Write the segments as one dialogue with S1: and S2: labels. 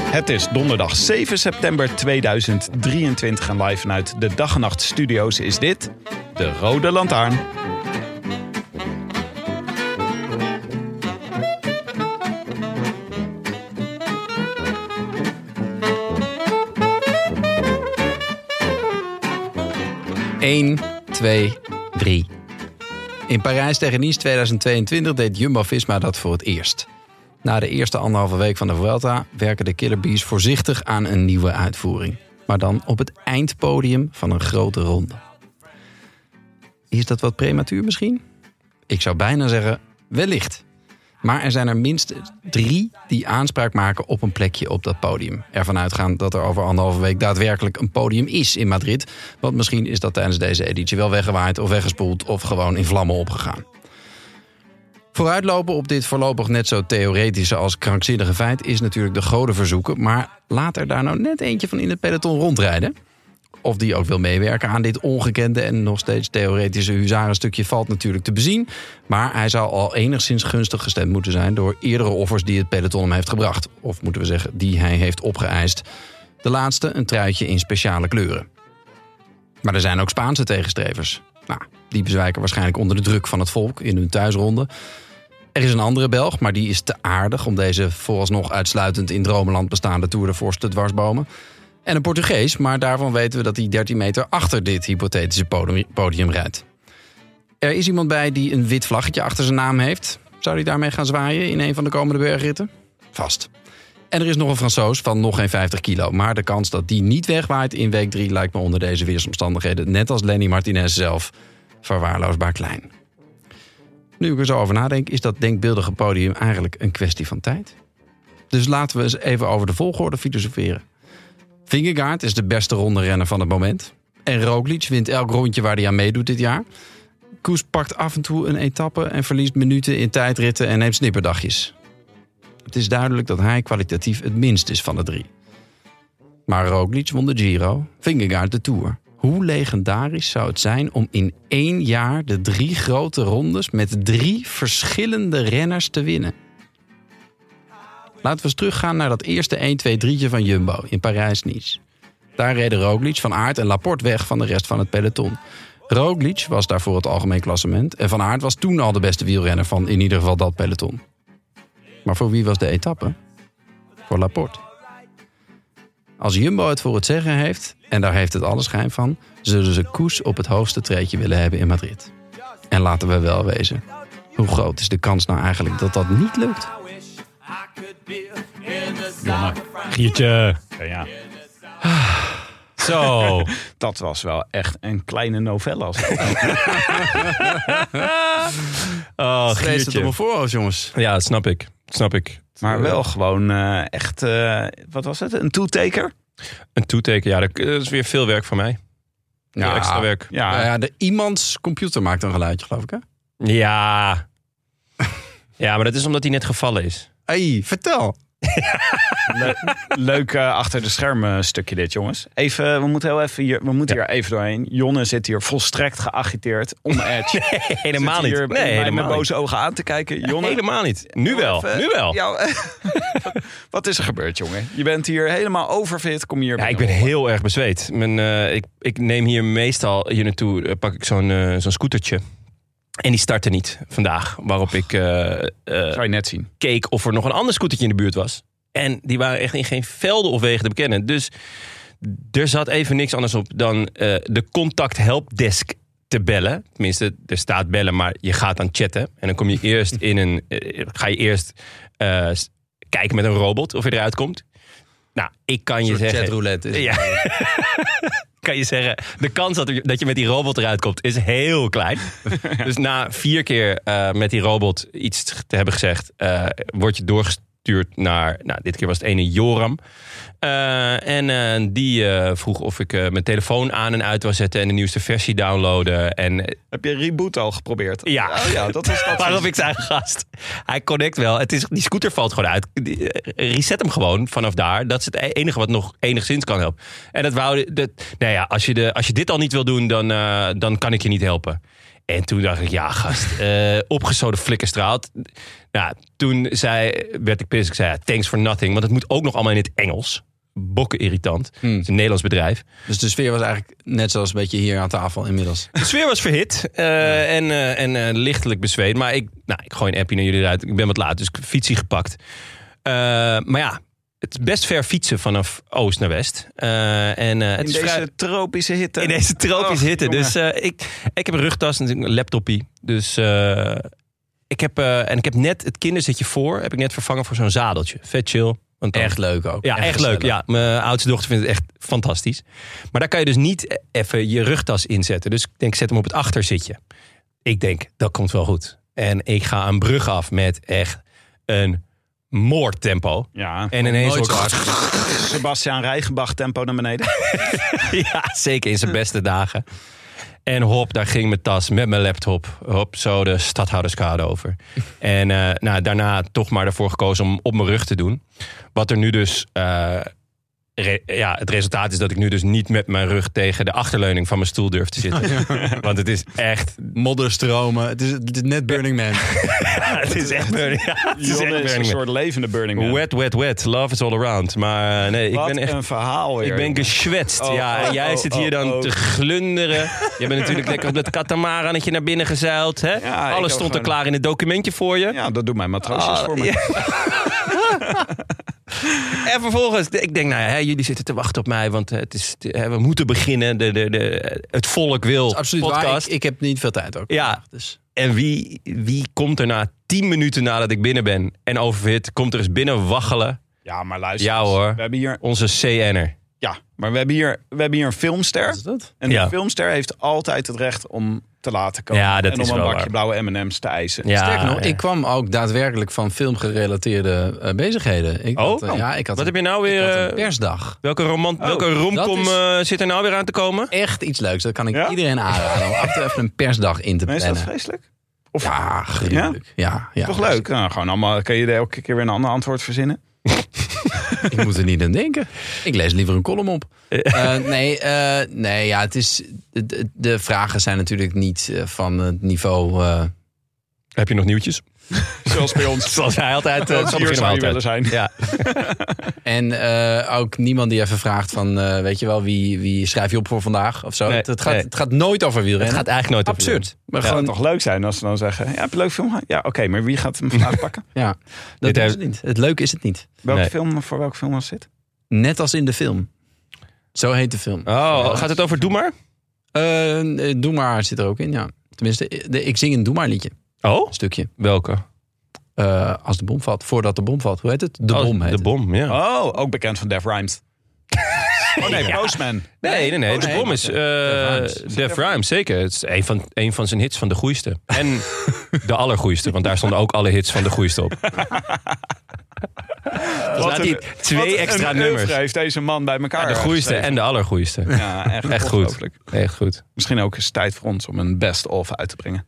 S1: Het is donderdag 7 september 2023 en live vanuit de Dag en Nacht Studio's is dit de Rode Lantaarn.
S2: Eén, twee, drie. In Parijs tegen Nice 2022 deed Jumbo-Visma dat voor het eerst. Na de eerste anderhalve week van de Vuelta werken de Killer Bees voorzichtig aan een nieuwe uitvoering. Maar dan op het eindpodium van een grote ronde. Is dat wat prematuur misschien? Ik zou bijna zeggen, wellicht. Maar er zijn er minstens drie die aanspraak maken op een plekje op dat podium. Ervan uitgaan dat er over anderhalve week daadwerkelijk een podium is in Madrid. Want misschien is dat tijdens deze editie wel weggewaaid of weggespoeld of gewoon in vlammen opgegaan. Vooruitlopen op dit voorlopig net zo theoretische als krankzinnige feit is natuurlijk de goden verzoeken. Maar laat er daar nou net eentje van in het peloton rondrijden. Of die ook wil meewerken aan dit ongekende en nog steeds theoretische huzarenstukje valt natuurlijk te bezien. Maar hij zou al enigszins gunstig gestemd moeten zijn door eerdere offers die het peloton hem heeft gebracht. Of moeten we zeggen, die hij heeft opgeëist. De laatste een truitje in speciale kleuren. Maar er zijn ook Spaanse tegenstrevers. Nou, die bezwijken waarschijnlijk onder de druk van het volk in hun thuisronde. Er is een andere Belg, maar die is te aardig om deze vooralsnog uitsluitend in Dromeland bestaande Tour de Force te dwarsbomen. En een Portugees, maar daarvan weten we dat hij 13 meter achter dit hypothetische podium, podium rijdt. Er is iemand bij die een wit vlaggetje achter zijn naam heeft. Zou hij daarmee gaan zwaaien in een van de komende bergritten? Vast. En er is nog een Fransoos van nog geen 50 kilo. Maar de kans dat die niet wegwaait in week 3 lijkt me onder deze weersomstandigheden, net als Lenny Martinez zelf, verwaarloosbaar klein. Nu ik er zo over nadenk, is dat denkbeeldige podium eigenlijk een kwestie van tijd. Dus laten we eens even over de volgorde filosoferen. Vingegaard is de beste ronde renner van het moment. En Roglic wint elk rondje waar hij aan meedoet dit jaar. Koes pakt af en toe een etappe en verliest minuten in tijdritten en neemt snipperdagjes. Het is duidelijk dat hij kwalitatief het minst is van de drie. Maar Roglic won de Giro, Vingegaard de Tour. Hoe legendarisch zou het zijn om in één jaar de drie grote rondes met drie verschillende renners te winnen? Laten we eens teruggaan naar dat eerste 1-2-3'tje van Jumbo in Parijs-Nice. Daar reden Roglic, Van Aert en Laporte weg van de rest van het peloton. Roglic was daarvoor het algemeen klassement en Van Aert was toen al de beste wielrenner van in ieder geval dat peloton. Maar voor wie was de etappe? Voor Laporte. Als Jumbo het voor het zeggen heeft, en daar heeft het alle schijn van, zullen ze Koes op het hoogste treetje willen hebben in Madrid. En laten we wel wezen, hoe groot is de kans nou eigenlijk dat dat niet lukt?
S3: Giertje.
S1: Ja, ja,
S3: Zo.
S1: dat was wel echt een kleine novelle. Als dat.
S3: Oh,
S2: Vrees het op mijn
S3: Giertje.
S2: voorhoofd, jongens.
S3: Ja, dat snap ik. Dat snap ik.
S1: maar wel gewoon eh, echt, eh, wat was het, een toetaker?
S3: Een toeteken, ja, dat is weer veel werk voor mij. Veel extra werk.
S1: Ja,
S2: Nou ja, de, iemands computer maakt een geluidje, geloof ik, hè?
S3: Ja. Ja, maar dat is omdat hij net gevallen is.
S2: hey, vertel.
S1: le- leuk eh, achter de schermen stukje dit, jongens. Even, we moeten, heel even hier, we moeten hier even doorheen. Jonne zit hier volstrekt geagiteerd, on edge.
S3: Helemaal
S1: Zit
S3: niet.
S1: hier
S3: Nee,
S1: mij met
S3: helemaal niet.
S1: boze ogen aan te kijken. Jonne,
S3: Helemaal niet. Nu wel.
S1: Even-
S3: Nu wel.
S1: Ja, wat is er gebeurd, jongen? Je bent hier helemaal overfit. Kom hier
S3: Ja, ik ben
S1: binnen.
S3: heel erg bezweet. Mijn, eh, ik, ik neem hier meestal hier naartoe, eh, pak ik zo'n eh, zo'n scootertje. En die startte niet vandaag. Waarop ik eh, eh,
S1: Zou je net zien.
S3: keek of er nog een ander scootertje in de buurt was. En die waren echt in geen velden of wegen te bekennen. Dus er zat even niks anders op dan eh, de contact helpdesk te bellen. Tenminste, er staat bellen, maar je gaat dan chatten. En dan kom je eerst in een. eh, ga je eerst eh, s- kijken met een robot of je eruit komt. Nou, ik kan je
S2: Een soort
S3: zeggen.
S2: chatroulette. is het.
S3: Ja. kan je zeggen, de kans dat, dat je met die robot eruit komt is heel klein. Dus na vier keer eh, met die robot iets te hebben gezegd, eh, word je doorgestuurd naar, nou, dit keer was het ene Joram. Eh, en eh, die eh, vroeg of ik eh, mijn telefoon aan en uit wil zetten en de nieuwste versie downloaden. En eh,
S1: Heb je reboot al geprobeerd?
S3: ja.
S1: Oh ja, dat is dat.
S3: Waarop ik zei, gast, hij connect wel. Het is, die scooter valt gewoon uit. Die, eh, Reset hem gewoon vanaf daar. Dat is het e-, enige wat nog enigszins kan helpen. En dat wou... Dat, nou ja, als je, de, als je dit al niet wil doen, dan, eh, dan kan ik je niet helpen. En toen dacht ik, ja gast, eh opgezoden flikkerstraat. Nou, toen zei, werd ik pissig. Ik zei, ja, thanks for nothing. Want het moet ook nog allemaal in het Engels. Bokken irritant. Het is een Nederlands bedrijf.
S2: Dus de sfeer was eigenlijk net zoals een beetje hier aan tafel inmiddels.
S3: De sfeer was verhit eh, en, eh, en eh, lichtelijk bezweet. Maar ik, nou, ik gooi een appje naar jullie eruit. Ik ben wat laat, dus ik heb fietsie gepakt. Eh, maar ja, het is best ver fietsen vanaf oost naar west. Eh, en, eh, het
S1: in
S3: is
S1: deze
S3: vrij-
S1: tropische hitte.
S3: in deze tropisch
S1: Och,
S3: hitte.
S1: jongen.
S3: Dus eh, ik, ik heb een rugtas, natuurlijk een laptopie. Dus eh, ik heb, eh, en ik heb net het kinderzitje voor, heb ik net vervangen voor zo'n zadeltje. Vet chill. Want dan-
S2: Echt leuk ook.
S3: ja, echt, leuk.
S2: gezellig.
S3: Ja, mijn oudste dochter vindt het echt fantastisch. Maar daar kan je dus niet even je rugtas inzetten. Dus ik denk, zet hem op het achterzitje. Ik denk, dat komt wel goed. En ik ga een brug af met echt een moordtempo.
S1: Ja,
S3: En ineens
S2: Oh, Nooit
S3: hoor ik-
S2: zo hard.
S1: Sebastian Rijgenbach tempo naar beneden.
S3: ja, zeker in zijn beste dagen. En hop, daar ging mijn tas met mijn laptop. Hop, zo de stadhouderskade over. En eh, nou, daarna toch maar ervoor gekozen om op mijn rug te doen. Wat er nu dus... eh, re- ja, het resultaat is dat ik nu dus niet met mijn rug tegen de achterleuning van mijn stoel durf te zitten. Want het is echt...
S2: Modderstromen. Het is, het is net Burning Man.
S3: het is echt burning. Ja, het is
S1: Jonne
S3: echt
S1: is een
S3: burning.
S1: soort levende Burning Man.
S3: Wet, wet, wet. Love is all around. Maar eh, nee, ik
S1: Wat
S3: ben echt...
S1: een verhaal weer.
S3: Ik ben
S1: jongen.
S3: geschwetst.
S1: Oh,
S3: ja, en
S1: oh,
S3: jij
S1: oh,
S3: zit hier
S1: oh,
S3: dan
S1: oh.
S3: te glunderen. Je bent natuurlijk lekker op dat katamaranetje naar binnen gezeild. Hè?
S1: Ja, ik heb
S3: Alles stond er
S1: gewoon-
S3: klaar in het documentje voor je.
S1: Ja, dat doet mijn matroosjes
S3: Ah,
S1: voor me.
S3: ja. En vervolgens, ik denk, nou ja, hè, jullie zitten te wachten op mij, want eh, het is, eh, we moeten beginnen. De, de, de, het volk wil
S2: Dat is absoluut
S3: podcast.
S2: waar. Ik, ik heb niet veel tijd ook.
S3: Ja,
S2: Dus.
S3: en wie, wie komt er na tien minuten nadat ik binnen ben en overhit, komt er eens binnen waggelen?
S1: Ja, maar luister.
S3: Ja,
S1: eens.
S3: hoor.
S1: We hebben hier,
S3: Onze CN'er.
S1: ja, maar we hebben hier, we hebben hier een filmster.
S2: dat?
S1: En die
S3: Ja.
S1: filmster heeft altijd het recht om te laten komen.
S3: Ja, dat
S1: en om
S3: is
S1: een
S3: wel
S1: bakje
S3: waar.
S1: blauwe M&M's te eisen.
S3: Ja,
S2: Sterker nog,
S3: ja.
S2: ik kwam ook daadwerkelijk van filmgerelateerde eh, bezigheden. Ik
S3: Oh,
S2: had, eh,
S3: oh.
S2: ja, ik had
S3: Wat
S2: een,
S3: heb je nou
S2: ik
S3: weer?
S2: had een
S3: eh,
S2: persdag.
S3: welke romant, welke romcom
S2: dat is-
S3: eh, zit er nou weer aan te komen?
S2: Echt iets leuks. Dat kan ik
S1: Ja?
S2: iedereen aanraden. Om af en toe even een persdag in te
S1: Maar is dat
S2: plannen.
S1: vreselijk? Of
S2: Ja, gruwelijk. Ja? Ja,
S1: toch leuk? Nou, gewoon allemaal, kun je er elke keer weer een ander antwoord verzinnen?
S2: Ik moet er niet aan denken. Ik lees liever een column op. Eh, nee, eh, nee ja, het is, de, de vragen zijn natuurlijk niet eh, van het niveau... eh,
S3: Heb je nog nieuwtjes?
S1: Zoals bij ons.
S3: Zoals hij altijd. eh, zo
S1: Hier
S3: beginnen we
S1: zou je
S3: altijd.
S1: willen zijn.
S3: Ja.
S2: en eh, ook niemand die even vraagt van... eh, weet je wel, wie, wie schrijf je op voor vandaag of zo.
S3: Nee,
S2: het, het gaat,
S3: nee.
S2: het gaat nooit over wielrennen.
S3: Het gaat eigenlijk nooit over
S2: Absurd. Maar
S1: Het zou
S2: gewoon,
S1: toch leuk zijn als ze dan zeggen, ja, heb je een leuk film? gehad? Ja, oké, maar wie gaat hem vandaag pakken?
S2: ja,
S3: Dit
S2: dat is
S3: heeft-
S2: het niet. Het leuke is het niet.
S1: Welke
S3: Nee.
S1: film, voor welke film was dit?
S2: Net als in de film. Zo heet de film.
S3: wielrennen. Oh, gaat het over Doe maar?
S2: Eh, eh, Doe maar zit er ook in, ja. Tenminste, eh, de, ik zing een Doe maar liedje.
S3: Oh?
S2: Een stukje.
S3: Welke?
S2: Eh, als de bom valt. Voordat de bom valt. Hoe heet het? De
S3: Oh,
S2: bom heet
S3: de
S2: het.
S3: bom, ja.
S1: Oh, ook bekend van Def Rhymes. Oh nee, Postman.
S3: Nee, nee, nee.
S2: Oh,
S3: de
S2: nee.
S3: bom is eh
S2: Rhymes.
S3: Def Rhymes, zeker. Het is een van, een van zijn hits van de goeiste. En de allergoeiste, want daar stonden ook alle hits van de goeiste op. Dus laat
S1: een-
S3: hij twee
S1: Wat
S3: extra
S1: een
S3: nummers.
S1: oeuvre heeft deze man bij elkaar.
S3: de goeiste
S1: geschreven.
S3: en de allergoeiste.
S1: Ja, echt,
S3: Echt goed.
S1: ongelooflijk.
S3: Echt goed.
S1: Misschien ook eens tijd voor ons om een best-of uit te brengen.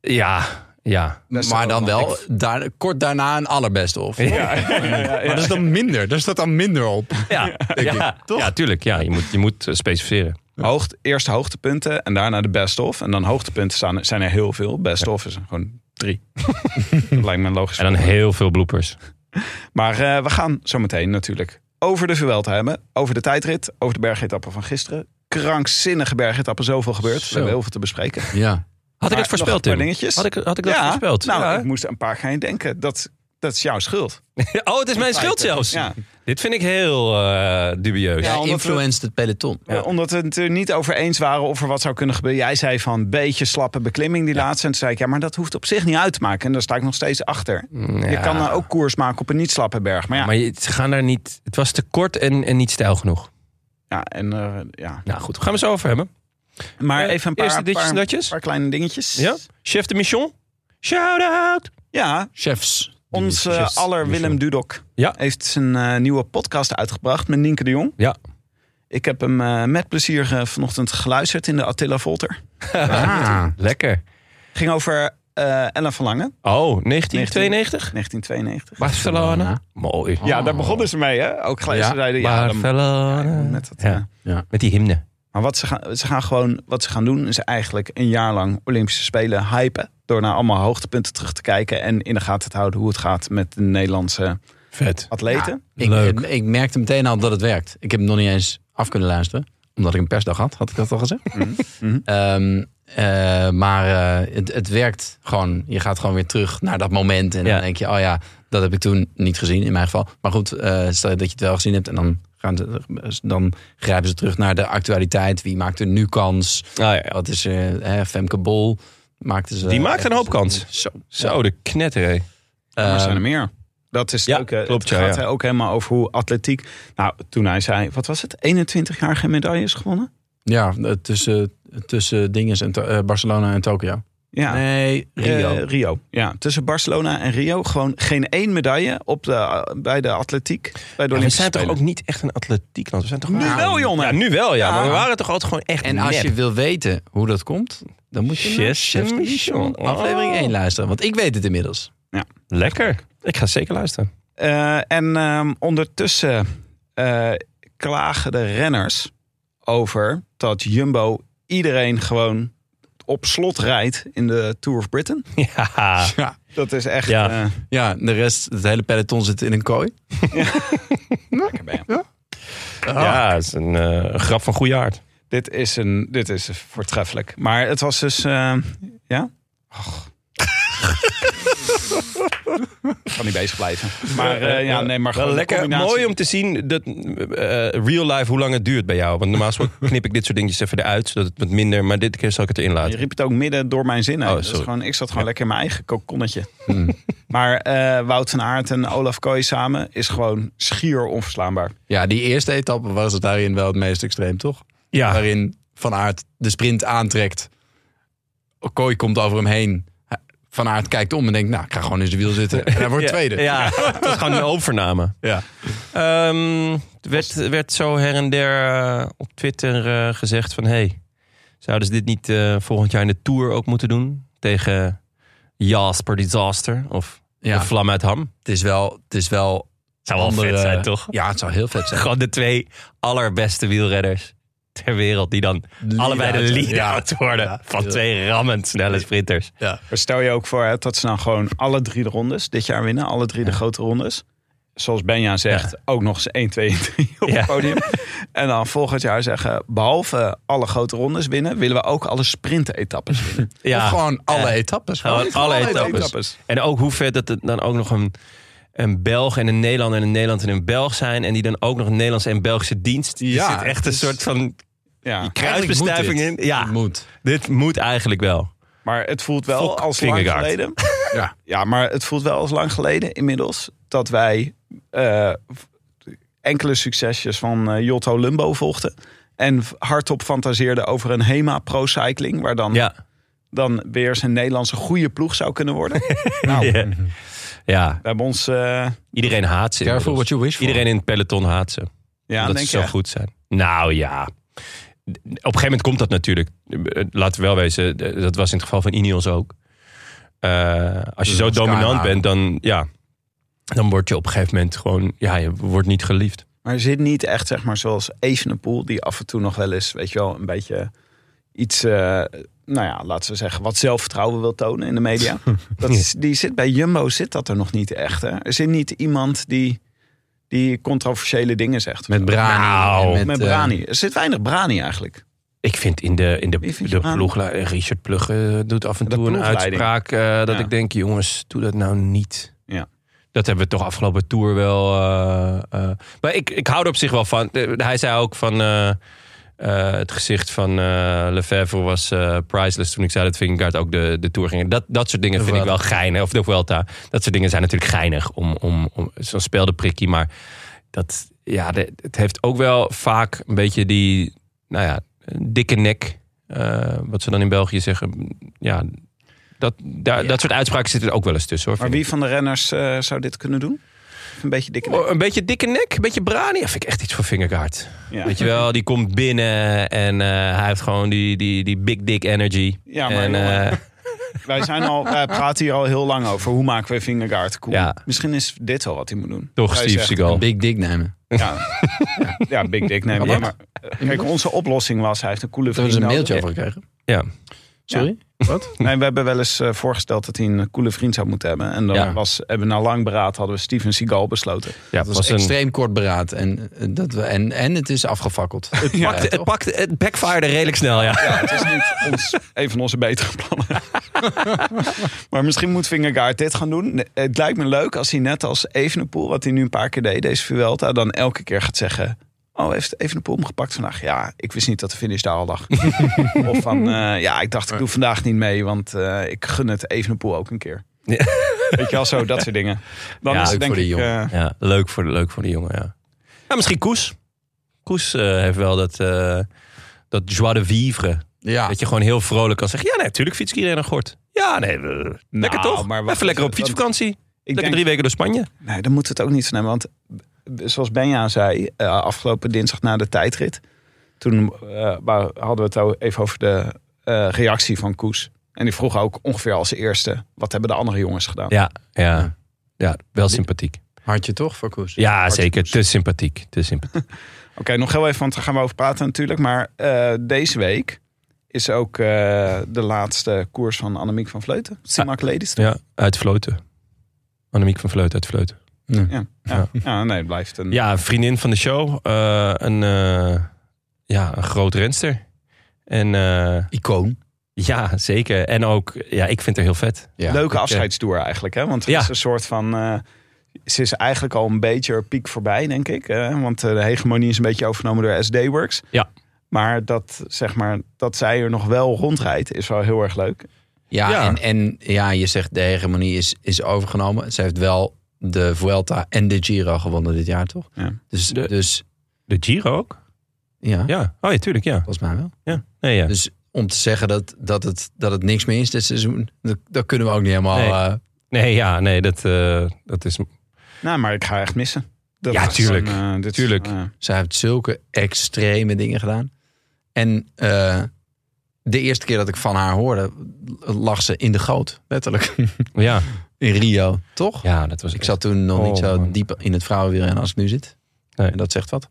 S3: Ja, ja.
S2: Maar dan wel daar, kort daarna een allerbeste of. Maar dat is dan minder. Daar staat dan minder op.
S3: Ja, ja, ja tuurlijk. Ja, je moet, je moet eh, specificeren.
S1: Hoogte, eerst hoogtepunten en daarna de best-of. En dan hoogtepunten staan, zijn er heel veel. Best-of is er gewoon drie. dat lijkt me een logisch.
S3: En dan heel veel bloepers.
S1: Maar eh, we gaan zo meteen natuurlijk over de Vuelta hebben. Over de tijdrit, over de bergetappen van gisteren. Krankzinnige bergetappen, zoveel gebeurd. We
S2: Zo.
S1: hebben heel veel te bespreken.
S2: Ja.
S3: Had ik
S1: Maar
S3: het voorspeld,
S1: nog een paar
S3: Tim?
S1: dingetjes.
S3: Had ik, had ik dat voorspeld?
S1: Nou,
S3: Ja.
S1: ik moest er een paar gaan denken. Dat Dat is jouw schuld.
S3: Oh, het is mijn schuld zelfs.
S1: Ja.
S3: Dit vind ik heel eh, dubieus.
S1: Ja,
S2: Jij
S1: omdat we-
S2: influenced het peloton.
S1: Eh, Omdat we het er niet over eens waren of er wat zou kunnen gebeuren. Jij zei van een beetje slappe beklimming die laatste. En toen zei ik, ja, maar dat hoeft op zich niet uit te maken. En daar sta ik nog steeds achter. Je kan eh, ook koers maken op een niet slappe berg. Maar ja,
S3: Maar je- ze gaan daar niet... Het was te kort en, en niet stijl genoeg.
S1: ja, en, eh, ja.
S3: Nou goed, we gaan we zo over hebben.
S1: maar
S3: Eh,
S1: even een paar,
S3: eerste ditjes
S1: paar,
S3: datjes?
S1: paar kleine dingetjes.
S3: Ja? Chef de Mission? Shout-out!
S1: ja
S2: Chefs.
S1: Ons eh,
S2: Chefs.
S1: aller
S2: Michel.
S1: Willem Dudok
S3: Ja.
S1: heeft zijn eh, nieuwe podcast uitgebracht met Nienke de Jong.
S3: Ja.
S1: Ik heb hem eh, met plezier eh, vanochtend geluisterd in de Attila Volter.
S2: Ah,
S3: Lekker.
S1: Ging over eh Ella van Lange,
S3: Oh, 1992?
S1: 1992.
S3: Barcelona. Mooi.
S1: Ja, daar begonnen ze mee, hè? Ook gelijk. ze zeiden, ja, dan-
S3: Barcelona.
S1: met dat, eh.
S3: Ja.
S2: Ja.
S3: Met die hymne.
S1: Maar wat ze, gaan, ze gaan gewoon, wat ze gaan doen, is eigenlijk een jaar lang Olympische Spelen hypen. Door naar allemaal hoogtepunten terug te kijken en in de gaten te houden hoe het gaat met de Nederlandse
S3: Vet.
S1: atleten.
S2: Ik,
S3: Leuk.
S2: eh, ik merkte meteen al dat het werkt. Ik heb hem nog niet eens af kunnen luisteren. Omdat ik een persdag had, had ik dat al gezegd.
S3: Mhm.
S2: Ehm, eh, maar eh, het, het werkt gewoon. Je gaat gewoon weer terug naar dat moment. En
S3: Ja.
S2: dan denk je, oh ja, dat heb ik toen niet gezien in mijn geval. Maar goed, eh, stel dat je het wel gezien hebt. En dan, gaan ze, eh, dan grijpen ze terug naar de actualiteit. Wie maakt er nu kans?
S3: ja, ja.
S2: Wat is eh, hè, Femke Bol? Maakte ze,
S3: Die maakt een hoop
S2: eh,
S3: kans.
S2: Zo.
S3: Zo, de knetter, hé.
S1: Maar er zijn
S2: Ehm,
S1: er meer. Dat is
S3: ja,
S1: ja, ook, eh,
S3: klopt,
S1: het
S3: ja,
S1: gaat
S3: ja.
S1: hij ook helemaal over hoe atletiek. Nou, toen hij zei, wat was het? 21 jaar geen medailles gewonnen?
S2: ja, eh, tussen, tussen dinges en To- eh, Barcelona en Tokio.
S1: Ja.
S2: Nee, Rio.
S1: Eh, Rio. Ja, tussen Barcelona en Rio gewoon geen één medaille op de, eh, bij de atletiek. Bij de
S3: Ja, we
S1: Olympische
S3: zijn toch ook
S1: Spelen.
S3: niet echt een atletiekland? We zijn toch
S1: Nu
S3: gewoon-
S1: wel, Jonne.
S3: Ja, nu wel, ja. Maar we
S1: Ja.
S3: waren toch altijd gewoon echt
S2: En als
S3: nep.
S2: je wil weten hoe dat komt, dan moet je naar
S3: Yes,
S2: Chef de
S3: Mission.
S2: Mission, aflevering
S3: Oh.
S2: 1 luisteren. Want ik weet het inmiddels.
S3: Lekker. Ik ga zeker luisteren.
S1: Eh, en ehm, ondertussen eh, klagen de renners over dat Jumbo iedereen gewoon op slot rijdt in de Tour of Britain.
S3: Ja.
S2: Ja,
S1: Dat is echt...
S3: Ja.
S1: eh,
S2: ja de rest, het hele peloton zit in een kooi.
S3: Ja, het is een eh, grap van goede aard.
S1: Dit is, een, dit is voortreffelijk. Maar het was dus. eh, ja? Ik kan niet bezig blijven. Maar eh, ja, nee,
S3: Wel
S1: maar gewoon. de
S3: lekker.
S1: combinatie-
S3: Mooi om te zien dat eh, real life hoe lang het duurt bij jou. Want normaal gesproken knip ik dit soort dingetjes even eruit, zodat het wat minder. Maar dit keer zal ik het erin
S1: Je
S3: laten.
S1: riep het ook midden door mijn zinnen.
S3: Oh,
S1: Dus
S3: sorry. Hmm.
S1: gewoon, ik zat gewoon lekker in mijn eigen kokonnetje. Maar eh, Wout van Aert en Olaf Kooi samen is gewoon schier onverslaanbaar.
S2: Ja, die eerste etappe was het daarin wel het meest extreem, toch? Waarin Van Aert de sprint aantrekt. Kooi komt over hem heen. Van Aert kijkt om en denkt, nou, ik ga gewoon in zijn wiel zitten. En hij wordt
S3: Ja,
S2: tweede.
S3: Ja, het was gewoon een overname.
S2: Ja.
S3: Ehm, er werd, werd zo her en der eh, op Twitter eh, gezegd van... hey, zouden ze dit niet eh, volgend jaar in de Tour ook moeten doen? Tegen Jasper Disaster of
S2: Ja.
S3: de Vlam uit Ham.
S2: Het is wel... Het is wel
S3: Zou wel vet zijn, toch?
S2: Ja, het zou heel vet zijn.
S3: Gewoon de twee allerbeste wielredders ter wereld... die dan allebei de
S2: Lead-out,
S3: lead-out
S2: ja.
S3: worden
S2: Ja.
S3: van twee rammend snelle sprinters.
S2: Ja.
S1: Maar stel je ook voor hè, dat ze nou gewoon alle drie de rondes dit jaar winnen. Alle drie de grote rondes. Zoals Benja zegt, ook nog eens 1, 2 en 3 op
S3: Ja.
S1: het podium. En dan volgend jaar zeggen, behalve alle grote rondes winnen... willen we ook alle sprintetappes winnen.
S3: Ja.
S2: Of gewoon alle etappes.
S3: Gewoon alle etappes.
S1: etappes.
S3: En ook hoe vet dat het dan ook nog een, een Belg en een Nederlander en een Nederland en een Belg zijn. En die dan ook nog een Nederlandse en Belgische dienst. Er
S2: Ja,
S3: zit echt een
S2: het is-
S3: soort van
S1: Ja.
S3: kruisbestuiving
S2: Eigenlijk moet
S3: in. Ja,
S2: Het moet.
S3: dit moet eigenlijk wel.
S1: Maar het voelt wel
S3: Fok
S1: als lang
S3: Vingegaard.
S1: geleden.
S2: Ja.
S1: Ja, maar het voelt wel als lang geleden inmiddels dat wij eh, enkele succesjes van eh, Jotto Lumbo volgden. En hardop fantaseerden over een HEMA Pro Cycling, waar dan,
S3: Ja,
S1: dan weer eens een Nederlandse goede ploeg zou kunnen worden. nou, we
S3: ja. ja.
S1: hebben ons. eh,
S3: iedereen haat ze.
S2: Careful what
S3: inmiddels.
S2: you wish for.
S3: Iedereen in het peloton haat ze.
S1: ja,
S3: dat
S1: denk
S3: ze zo
S1: je,
S3: goed zijn. Nou ja. Op een gegeven moment komt dat natuurlijk. Eh, Laten we wel wezen, eh, dat was in het geval van Ineos ook. Eh, als je
S2: Dus
S3: zo
S2: als
S3: dominant
S2: Skymaker.
S3: bent, dan, ja, dan word je op een gegeven moment gewoon... Ja, je wordt niet geliefd.
S1: Maar zit niet echt, zeg maar, zoals Evenepoel, die af en toe nog wel eens, weet je wel, een beetje iets, eh, nou ja, laten we zeggen, wat zelfvertrouwen wil tonen in de media. Dat is, die zit bij Jumbo, zit dat er nog niet echt. Hè? Er zit niet iemand die, die controversiële dingen zegt.
S2: Met Brani.
S3: Nou,
S2: en
S1: Met
S2: eh,
S1: Brani. Er zit weinig Brani eigenlijk.
S3: Ik vind in de, in de,
S1: Wie vind
S3: de
S1: je aan?
S3: ploegleiding... Richard Plugge eh, doet af en
S1: De
S3: toe een
S1: ploegleiding.
S3: uitspraak eh, dat
S1: Ja.
S3: ik denk... Jongens, doe dat nou niet.
S1: Ja.
S3: Dat hebben we toch afgelopen tour wel. eh, eh, maar ik, ik hou er op zich wel van. Eh, Hij zei ook van. eh, eh, het gezicht van eh Lefebvre was eh, priceless toen ik zei dat Vingegaard ook de, de Tour ging. Dat, dat soort dingen
S2: De
S3: vind ik wel
S2: Vuelta.
S3: geinig. Of de Vuelta. Dat soort dingen zijn natuurlijk geinig om, om, om zo'n speelde prikkie. Maar dat, ja, de- het heeft ook wel vaak een beetje die, nou ja, dikke nek. eh, wat ze dan in België zeggen. Ja, dat, daar,
S2: Ja.
S3: dat soort uitspraken zitten er ook wel eens tussen hoor.
S1: Maar
S3: vind ik.
S1: wie van de renners eh, zou dit kunnen doen? Een beetje dikke nek.
S3: Oh, een beetje dikke nek, een beetje brani. Dat vind ik echt iets voor Vingegaard.
S1: Ja.
S3: Weet je wel, die komt binnen en eh, hij heeft gewoon die, die, die big dick energy.
S1: Ja, maar
S3: en,
S1: jongen,
S3: eh,
S1: Wij, zijn al, wij praten hier al heel lang over. Hoe maken we Vingegaard cool?
S3: Ja.
S1: Misschien is dit wel wat hij moet doen.
S3: toch
S1: Hij
S3: Steve
S1: zegt,
S3: Seagal.
S2: Big dick nemen.
S1: Ja, ja, Big Dick neem
S2: Kan
S1: je.
S2: dat?
S1: Maar, eh, kijk, onze oplossing was, hij heeft een coole
S2: Daar
S1: vriend
S2: hebben ze dus een
S1: nodig.
S2: mailtje over gekregen.
S3: Ja.
S2: Sorry?
S1: Nee, we hebben wel eens eh, voorgesteld dat hij een coole vriend zou moeten hebben. En dan
S3: Ja.
S1: was, hebben we na lang beraad hadden we Steven Seagal besloten.
S3: Ja,
S2: Dat was extreem kort beraad. En, eh, dat we, en, en het is afgefakkeld. Het
S3: pakte, het, pakte, het backfired redelijk snel, ja.
S1: Ja, het is niet ons, een van onze betere plannen. maar misschien moet Vingegaard dit gaan doen. Nee, Het lijkt me leuk als hij net als Evenepoel, wat hij nu een paar keer deed, deze Vuelta, dan elke keer gaat zeggen... Oh, heeft Evenepoel hem gepakt vandaag? Ja, ik wist niet dat de finish daar al lag. of van, eh, ja, ik dacht ik doe vandaag niet mee, want eh, ik gun het Evenepoel ook een keer.
S3: Ja.
S1: Weet je wel, zo, dat soort dingen. Dan
S3: Ja,
S1: is
S2: leuk
S1: het denk
S2: voor die
S1: ik...
S2: jongen.
S1: eh,
S3: ja leuk, voor de, leuk voor de jongen, ja. ja misschien Koes. Koes eh, heeft wel dat, eh, dat joie de vivre.
S2: Ja.
S3: Dat je gewoon heel vrolijk kan zeggen, ja, nee, natuurlijk fiets ik iedereen naar Gort. Ja, nee, we- lekker toch?
S1: maar wacht
S3: Even lekker op
S1: even, dat-
S3: fietsvakantie.
S1: ik
S3: lekker
S1: denk-
S3: drie weken door Spanje.
S1: Nee, daar moeten we het ook niet van hebben. Want b- zoals Benja zei, eh, afgelopen dinsdag na de tijdrit... toen eh, wa- hadden we het al even over de eh, reactie van Koes. En die vroeg ook ongeveer als eerste... wat hebben de andere jongens gedaan?
S3: Ja, ja. Ja, wel sympathiek.
S2: Hartje toch voor Koes?
S3: Ja, zeker. Te sympathiek. Te sympathiek.
S1: Oké, nog heel even, want daar gaan we over praten natuurlijk. Maar eh, deze week is ook eh, de laatste koers van Annemiek van Vleuten. Simak Ladies.
S3: Ja, uit Vleuten. Annemiek van Vleuten uit Vleuten.
S1: Ja, ja, ja, nee, het blijft een...
S3: Ja, een vriendin van de show. eh, een, eh, ja, een groot renster. En eh,
S2: Icoon.
S3: ja, zeker. En ook, ja, ik vind haar heel vet.
S2: Ja.
S1: Leuke afscheidstoer eigenlijk, hè? Want het
S3: Ja.
S1: is een soort van... eh, ze is eigenlijk al een beetje haar piek voorbij, denk ik. Hè? Want eh, de hegemonie is een beetje overgenomen door SD-Works.
S3: Ja.
S1: Maar dat, zeg maar dat zij er nog wel rondrijdt, is wel heel erg leuk.
S2: Ja,
S3: Ja.
S2: En, en ja, je zegt de hegemonie is, is overgenomen. Ze heeft wel de Vuelta en de Giro gewonnen dit jaar, toch?
S1: Ja.
S2: Dus,
S3: De-
S2: dus
S3: De Giro ook?
S2: ja,
S3: Ja. Oh ja, tuurlijk, ja.
S2: volgens mij wel.
S3: ja. Nee, ja.
S2: Dus om te zeggen dat, dat, het, dat het niks meer is dit seizoen, dat, dat kunnen we ook niet helemaal...
S3: Nee.
S2: eh,
S3: nee, ja, nee dat, eh, dat is...
S1: Nou, maar ik ga haar echt missen. Dat
S3: Ja,
S1: is
S3: tuurlijk.
S1: eh, dit is,
S3: Tuurlijk.
S1: eh,
S2: zij heeft zulke extreme dingen gedaan. En eh, de eerste keer dat ik van haar hoorde, lag ze in de goot, letterlijk.
S3: Ja,
S2: In Rio, toch? Dus
S3: ja dat was...
S2: Ik zat toen nog niet
S3: Oh,
S2: zo
S3: man.
S2: diep in het vrouwenwielrennen als ik nu zit.
S3: Nee.
S2: En dat zegt wat.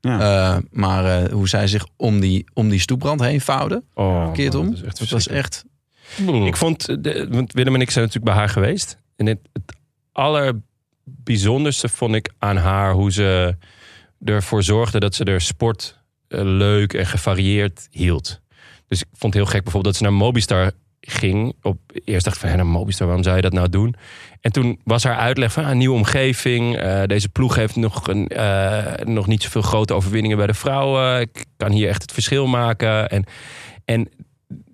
S1: Ja.
S2: Eh, maar eh, hoe zij zich om die, om die stoeprand heen vouwde,
S3: oh,
S2: keert om.
S3: man,
S2: Dat,
S3: echt
S2: was echt...
S3: Ik vond, eh, de, want Willem en ik zijn natuurlijk bij haar geweest. En het, het allerbijzonderste vond ik aan haar hoe ze ervoor zorgde dat ze de sport eh, leuk en gevarieerd hield. Dus ik vond het heel gek bijvoorbeeld dat ze naar Mobistar ging. Op, eerst dacht ik van, hé, naar Mobistar, waarom zou je dat nou doen? En toen was haar uitleg van, ah, nieuwe omgeving. eh, deze ploeg heeft nog, een, eh, nog niet zoveel grote overwinningen bij de vrouwen. Ik kan hier echt het verschil maken. En, en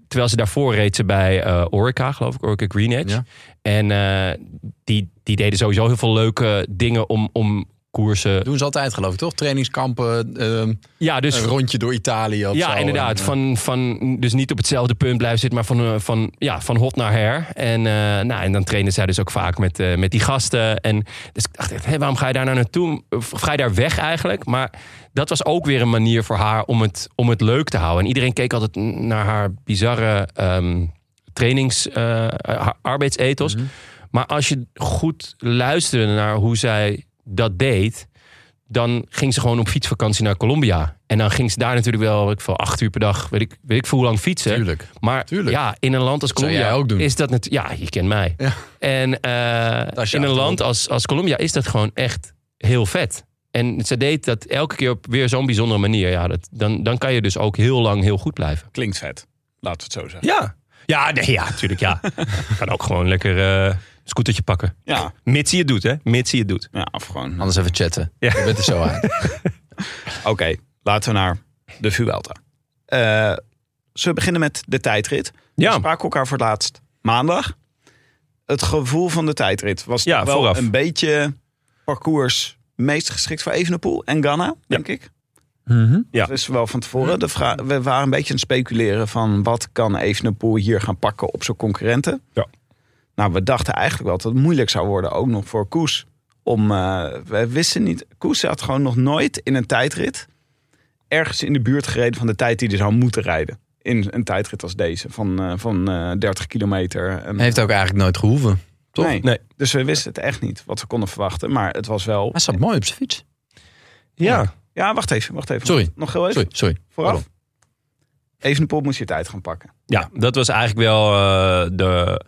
S3: terwijl ze daarvoor reed ze bij eh Orica, geloof ik, Orica Green Edge.
S2: Ja.
S3: En eh, die, die deden sowieso heel veel leuke dingen om, om koersen...
S2: Doen ze altijd geloof ik, toch? Trainingskampen, ehm,
S3: Ja, dus
S2: een rondje door Italië of
S3: ja,
S2: zo.
S3: inderdaad.
S2: En, eh,
S3: Van, van, dus niet op hetzelfde punt blijven zitten, maar van, eh, van, ja, van hot naar her. En, eh, nou, en dan trainen zij dus ook vaak met, eh, met die gasten. En, dus ik dacht echt, hé, waarom ga je daar nou naartoe? Of ga je daar weg eigenlijk? Maar dat was ook weer een manier voor haar om het, om het leuk te houden. En iedereen keek altijd naar haar bizarre ehm, trainings, eh, haar arbeidsethos.
S2: Mhm.
S3: Maar als je goed luisterde naar hoe zij dat deed dan ging ze gewoon op fietsvakantie naar Colombia. En dan ging ze daar natuurlijk wel weet ik veel, acht uur per dag, weet ik, weet ik veel hoe lang fietsen.
S2: Tuurlijk.
S3: Maar
S2: tuurlijk.
S3: ja, in een land als
S2: zou
S3: Colombia
S2: jij ook doen.
S3: is dat natuurlijk... Ja, je kent mij.
S2: Ja.
S3: En
S2: Dat is
S3: eh
S2: je
S3: in een
S2: achterhoofd.
S3: land als, als Colombia is dat gewoon echt heel vet. En ze deed dat elke keer op weer zo'n bijzondere manier. Ja, dat, dan, dan kan je dus ook heel lang heel goed blijven.
S1: Klinkt vet. Laten we het zo zeggen.
S3: Ja. Ja, nee, ja, natuurlijk ja. kan ook gewoon lekker eh, Scootertje pakken.
S1: Ja,
S3: Mits hij het doet, hè? Mits hij het doet.
S1: ja of gewoon.
S2: Anders even chatten.
S3: Ja.
S2: Je bent er zo uit.
S1: Oké, laten we naar de Vuelta. Eh, zullen we beginnen met de tijdrit? We
S3: Ja,
S1: spraken elkaar voor het laatst maandag. Het gevoel van de tijdrit was
S3: Ja,
S1: toch wel
S3: vooraf.
S1: een beetje parcours meest geschikt voor Evenepoel en Ghana, denk ik.
S3: Ja.
S1: Dat is wel van tevoren. De vra- we waren een beetje aan het speculeren van wat kan Evenepoel hier gaan pakken op zijn concurrenten.
S3: Ja.
S1: Nou, we dachten eigenlijk wel dat het moeilijk zou worden, ook nog voor Koes. Om, eh, we wisten niet, Koes had gewoon nog nooit in een tijdrit ergens in de buurt gereden van de tijd die hij zou moeten rijden. In een tijdrit als deze, van, eh, van eh, 30 kilometer. En,
S2: Heeft ook eigenlijk nooit gehoeven. toch?
S1: Nee.
S3: Nee.
S1: Dus we wisten het echt niet wat we konden verwachten. Maar het was wel.
S2: Hij zat mooi op zijn fiets.
S3: ja.
S1: Ja, wacht even, wacht even.
S2: Sorry.
S1: Nog heel even
S2: Sorry, sorry.
S1: vooraf. Evenepoel moest je tijd gaan pakken.
S3: ja, dat was eigenlijk wel eh, de,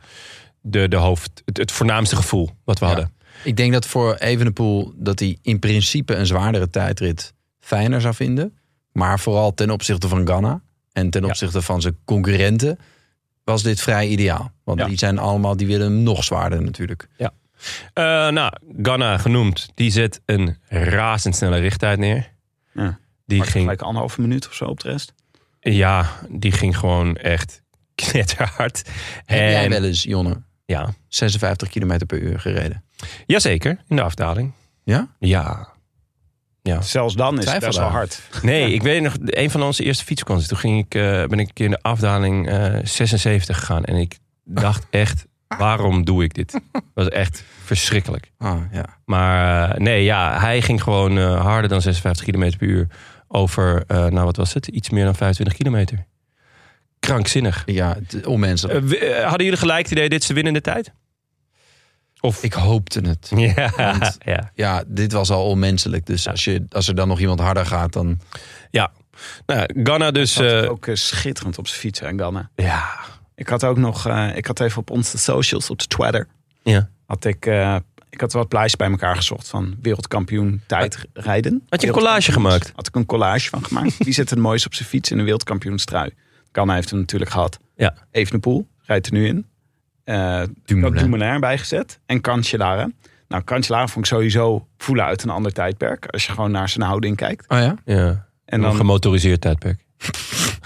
S3: de, de hoofd, het, het voornaamste gevoel wat we
S2: Ja.
S3: hadden.
S2: Ik denk dat voor Evenepoel dat hij in principe een zwaardere tijdrit fijner zou vinden. Maar vooral ten opzichte van Ghana en ten
S3: Ja.
S2: opzichte van zijn concurrenten was dit vrij ideaal. Want
S3: Ja.
S2: die zijn allemaal, die willen hem nog zwaarder natuurlijk.
S3: Eh, nou, Ganna genoemd. Die zet een razendsnelle richttijd neer.
S1: Ja.
S3: Die
S1: Maar
S3: ging,
S1: gelijk anderhalve minuut of zo op de rest.
S3: ja, die ging gewoon echt knetterhard.
S2: Heb jij
S3: En-
S2: wel eens, Jonne,
S3: Ja,
S2: 56 km per uur gereden?
S3: jazeker, in de afdaling.
S2: Ja?
S3: Ja.
S1: Zelfs dan is het
S2: Twijfel
S1: best wel
S2: daar.
S1: hard.
S3: Nee, ik weet nog, een van onze eerste fietskansen. Toen ging ik, eh, ben ik een keer in de afdaling eh, 76 gegaan. En ik dacht echt, waarom doe ik dit? Dat was echt verschrikkelijk.
S2: Ah, ja.
S3: Maar eh, nee, ja, hij ging gewoon eh, harder dan 56 km per uur over, eh, nou wat was het, iets meer dan 25 kilometer. Krankzinnig.
S2: Ja, het- onmenselijk.
S3: Eh, w- eh, hadden jullie gelijk het idee, dit is de winnende tijd?
S2: Of ik hoopte het.
S3: Ja.
S2: Want-
S3: ja.
S2: Ja, dit was al onmenselijk. Dus als, je, als er dan nog iemand harder gaat, dan...
S3: Nou, Ghana dus...
S1: Zat
S3: eh,
S1: ook eh, schitterend op zijn fiets en Ganna.
S3: ja.
S1: Ik had ook nog, eh, ik had even op onze socials, op de Twitter,
S3: ja.
S1: had ik, eh, ik had wat plaatjes bij elkaar gezocht van wereldkampioen tijdrijden.
S3: Had je een collage gemaakt?
S1: Had ik een collage van gemaakt. Wie zit het mooist op zijn fiets in een wereldkampioenstrui? Ganna heeft hem natuurlijk gehad.
S3: Ja.
S1: Evenepoel rijdt er nu in. Eh
S2: Dumoulin.
S1: Ik had Dumoulin bijgezet en Cancellara. Nou, Cancellara vond ik sowieso voelen uit een ander tijdperk. Als je gewoon naar zijn houding kijkt.
S2: Oh ja?
S3: Ja.
S1: En dan,
S3: gemotoriseerd tijdperk.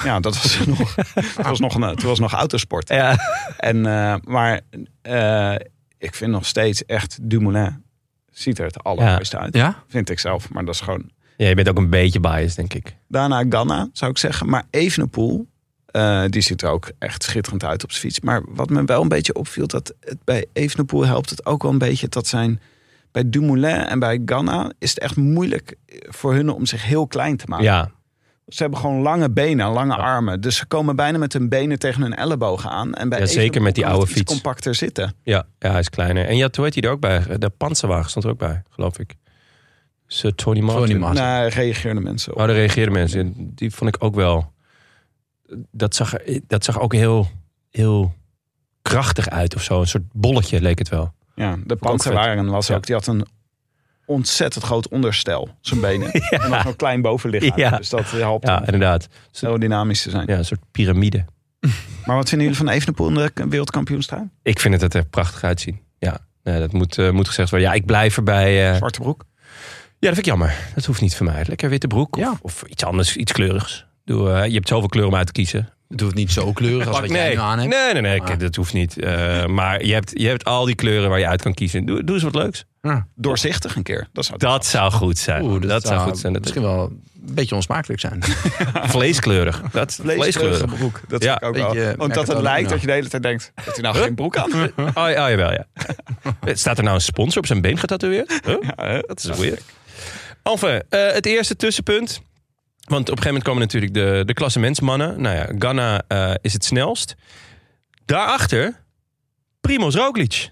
S1: ja, dat was nog, het was nog, een, het was nog autosport.
S3: Ja.
S1: En, eh, maar eh, ik vind nog steeds echt Dumoulin ziet er het allerbeste uit.
S2: Ja?
S1: Vind ik zelf, maar dat is gewoon...
S3: ja, je bent ook een beetje biased, denk ik.
S1: Daarna Ganna, zou ik zeggen. Maar Evenepoel, eh die ziet er ook echt schitterend uit op zijn fiets. Maar wat me wel een beetje opviel, dat het bij Evenepoel helpt het ook wel een beetje dat zijn... Bij Dumoulin en bij Ganna is het echt moeilijk voor hun om zich heel klein te maken.
S3: Ja,
S1: Ze hebben gewoon lange benen, en lange
S3: Ja.
S1: armen. Dus ze komen bijna met hun benen tegen hun ellebogen aan. En bij
S3: Ja, zeker
S1: Evenepoel
S3: met die
S1: kan
S3: oude
S1: het iets
S3: fiets.
S1: compacter zitten.
S3: ja, ja, hij is kleiner. En ja, toen heet hij er ook bij. De panzerwagen stond er ook bij, geloof ik. Sir Tony Martin.
S2: Tony Martin. Was
S1: Nou, reageerden mensen op.
S3: Oh, daar reageerden mensen. En Die vond ik ook wel... Dat zag, er- dat zag ook heel, heel krachtig uit of zo. Een soort bolletje leek het wel.
S1: Ja, de
S3: ik ook
S1: panzerwagen was
S3: Ja.
S1: ook. Die had een ontzettend groot onderstel, zijn benen. En nog een klein bovenlichaam.
S3: Ja.
S1: Dus dat helpt
S3: Ja,
S1: om
S3: inderdaad.
S1: aerodynamisch te zijn.
S3: Ja, een soort piramide.
S1: Maar wat vinden jullie van Evenepoel in de wereldkampioenstrui?
S3: Ik vind het er echt prachtig uitzien. Ja, nee, dat moet, eh, moet gezegd worden. Ja, ik blijf erbij... eh,
S1: Zwarte broek?
S3: Ja, dat vind ik jammer. Dat hoeft niet van mij. Lekker witte broek of,
S2: Ja.
S3: of iets anders, iets kleurigs. Doe, eh, je hebt zoveel kleuren om uit te kiezen.
S2: Het hoeft niet zo kleurig als wat
S3: Pak-
S2: jij
S3: nee.
S2: nu aan hebt.
S3: nee, nee, nee,
S2: Ah.
S3: ik- dat hoeft niet. Eh, maar je hebt, je hebt al die kleuren waar je uit kan kiezen. Doe, doe eens wat leuks.
S1: Doorzichtig een keer. Dat zou
S3: Dat zou goed zijn.
S2: Oeh,
S3: dat, zou goed zijn. Dat
S2: misschien wel een beetje onsmakelijk zijn.
S3: vleeskleurig. Dat,
S1: vleeskleurig.
S3: vleeskleurig.
S2: broek.
S1: dat
S3: Ja,
S1: vind ik ook wel.
S2: beetje
S1: Want dat het
S2: mercadona.
S1: lijkt dat je de hele tijd denkt... Heeft hij nou geen broek aan?
S3: Oh, ja, oh, jawel, ja. Staat er nou een sponsor op zijn been getatoeëerd? Huh?
S1: Ja, hè?
S3: Dat is weird. Enfin, eh, het eerste tussenpunt. Want op een gegeven moment komen natuurlijk de, de klassementsmannen. Nou ja, Ghana eh, is het snelst. Daarachter Primoz Roglic.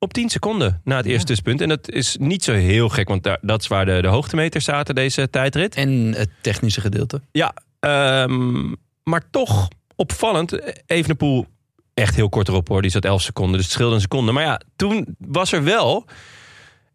S3: Op 10 seconden na het eerste tussenpunt. En dat is niet zo heel gek, want daar, dat is waar de, de hoogtemeters zaten deze tijdrit.
S2: En het technische gedeelte.
S3: Ja, ehm, maar toch opvallend. Evenepoel echt heel kort erop hoor. Die zat 11 seconden, dus het scheelde een seconde. Maar ja, toen was er wel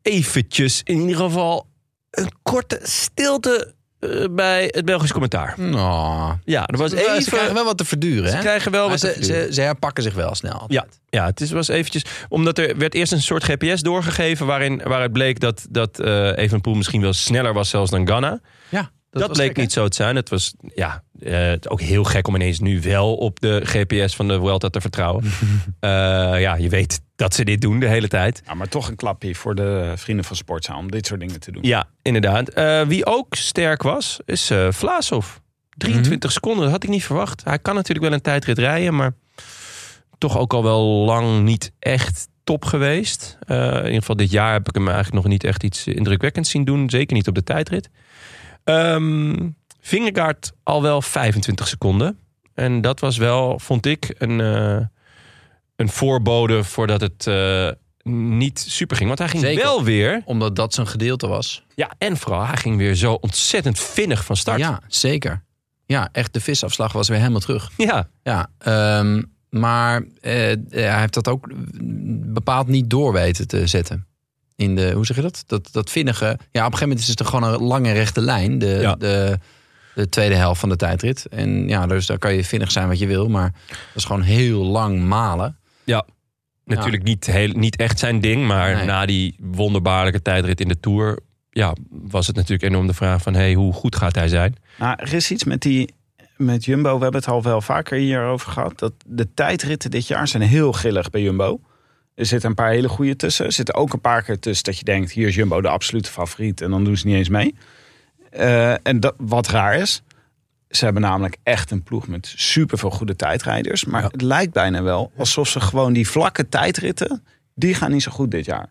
S3: eventjes in ieder geval een korte stilte eh, bij het Belgisch commentaar.
S2: Nou,
S3: Ja, er was
S2: ze,
S3: even...
S2: ze krijgen wel wat te verduren,
S3: ze
S2: hè?
S3: krijgen wel
S2: Maar
S3: wat
S2: ze,
S3: te verduren.
S2: ze, ze herpakken zich wel snel.
S3: Ja, ja het is, was eventjes... Omdat er werd eerst een soort GPS doorgegeven... waarin, waaruit bleek dat, dat eh Evenepoel misschien wel sneller was zelfs dan Ghana.
S2: Ja,
S3: Dat,
S2: was
S3: bleek
S2: gek, hè?
S3: niet zo te zijn. Het was ja, eh, ook heel gek om ineens nu wel op de GPS van de Vuelta te vertrouwen. Eh, ja, je weet dat ze dit doen de hele tijd.
S1: Ja, maar toch een klapje voor de vrienden van Sportzaal om dit soort dingen te doen.
S3: Ja, inderdaad. Eh, wie ook sterk was, is eh Vlaasov. 23
S1: Mhm.
S3: seconden, dat had ik niet verwacht. Hij kan natuurlijk wel een tijdrit rijden, maar toch ook al wel lang niet echt top geweest. Eh, in ieder geval dit jaar heb ik hem eigenlijk nog niet echt iets indrukwekkends zien doen. Zeker niet op de tijdrit. Ehm Vingegaard al wel 25 seconden. En dat was wel, vond ik, een, eh, een voorbode voordat het eh, niet super ging. Want hij ging
S2: Zeker.
S3: wel weer
S2: Omdat dat zijn gedeelte was.
S3: ja, en vooral, hij ging weer zo ontzettend vinnig van start.
S2: Ja, zeker. Ja, echt de visafslag was weer helemaal terug.
S3: ja.
S2: Ja, ehm, maar eh, eh, hij heeft dat ook bepaald niet door weten te zetten. In de, hoe zeg je dat? Dat, dat vinnige. Ja, op een gegeven moment is het er gewoon een lange rechte lijn. De,
S3: Ja.
S2: de, de tweede helft van de tijdrit. En ja, dus daar kan je vinnig zijn wat je wil. Maar dat is gewoon heel lang malen.
S3: natuurlijk Niet, heel, niet echt zijn ding. Maar
S2: Nee.
S3: na die wonderbaarlijke tijdrit in de Tour... Ja, was het natuurlijk enorm de vraag van... Hey, hoe goed gaat hij zijn?
S1: Nou, er is iets met die met Jumbo. We hebben het al wel vaker hierover gehad. Dat de tijdritten dit jaar zijn heel grillig bij Jumbo. Er zitten een paar hele goede tussen. Er zitten ook een paar keer tussen dat je denkt... hier is Jumbo de absolute favoriet en dan doen ze niet eens mee. Eh, en dat, wat raar is... Ze hebben namelijk echt een ploeg met superveel goede tijdrijders. Maar het lijkt bijna wel alsof ze gewoon die vlakke tijdritten... die gaan niet zo goed dit jaar.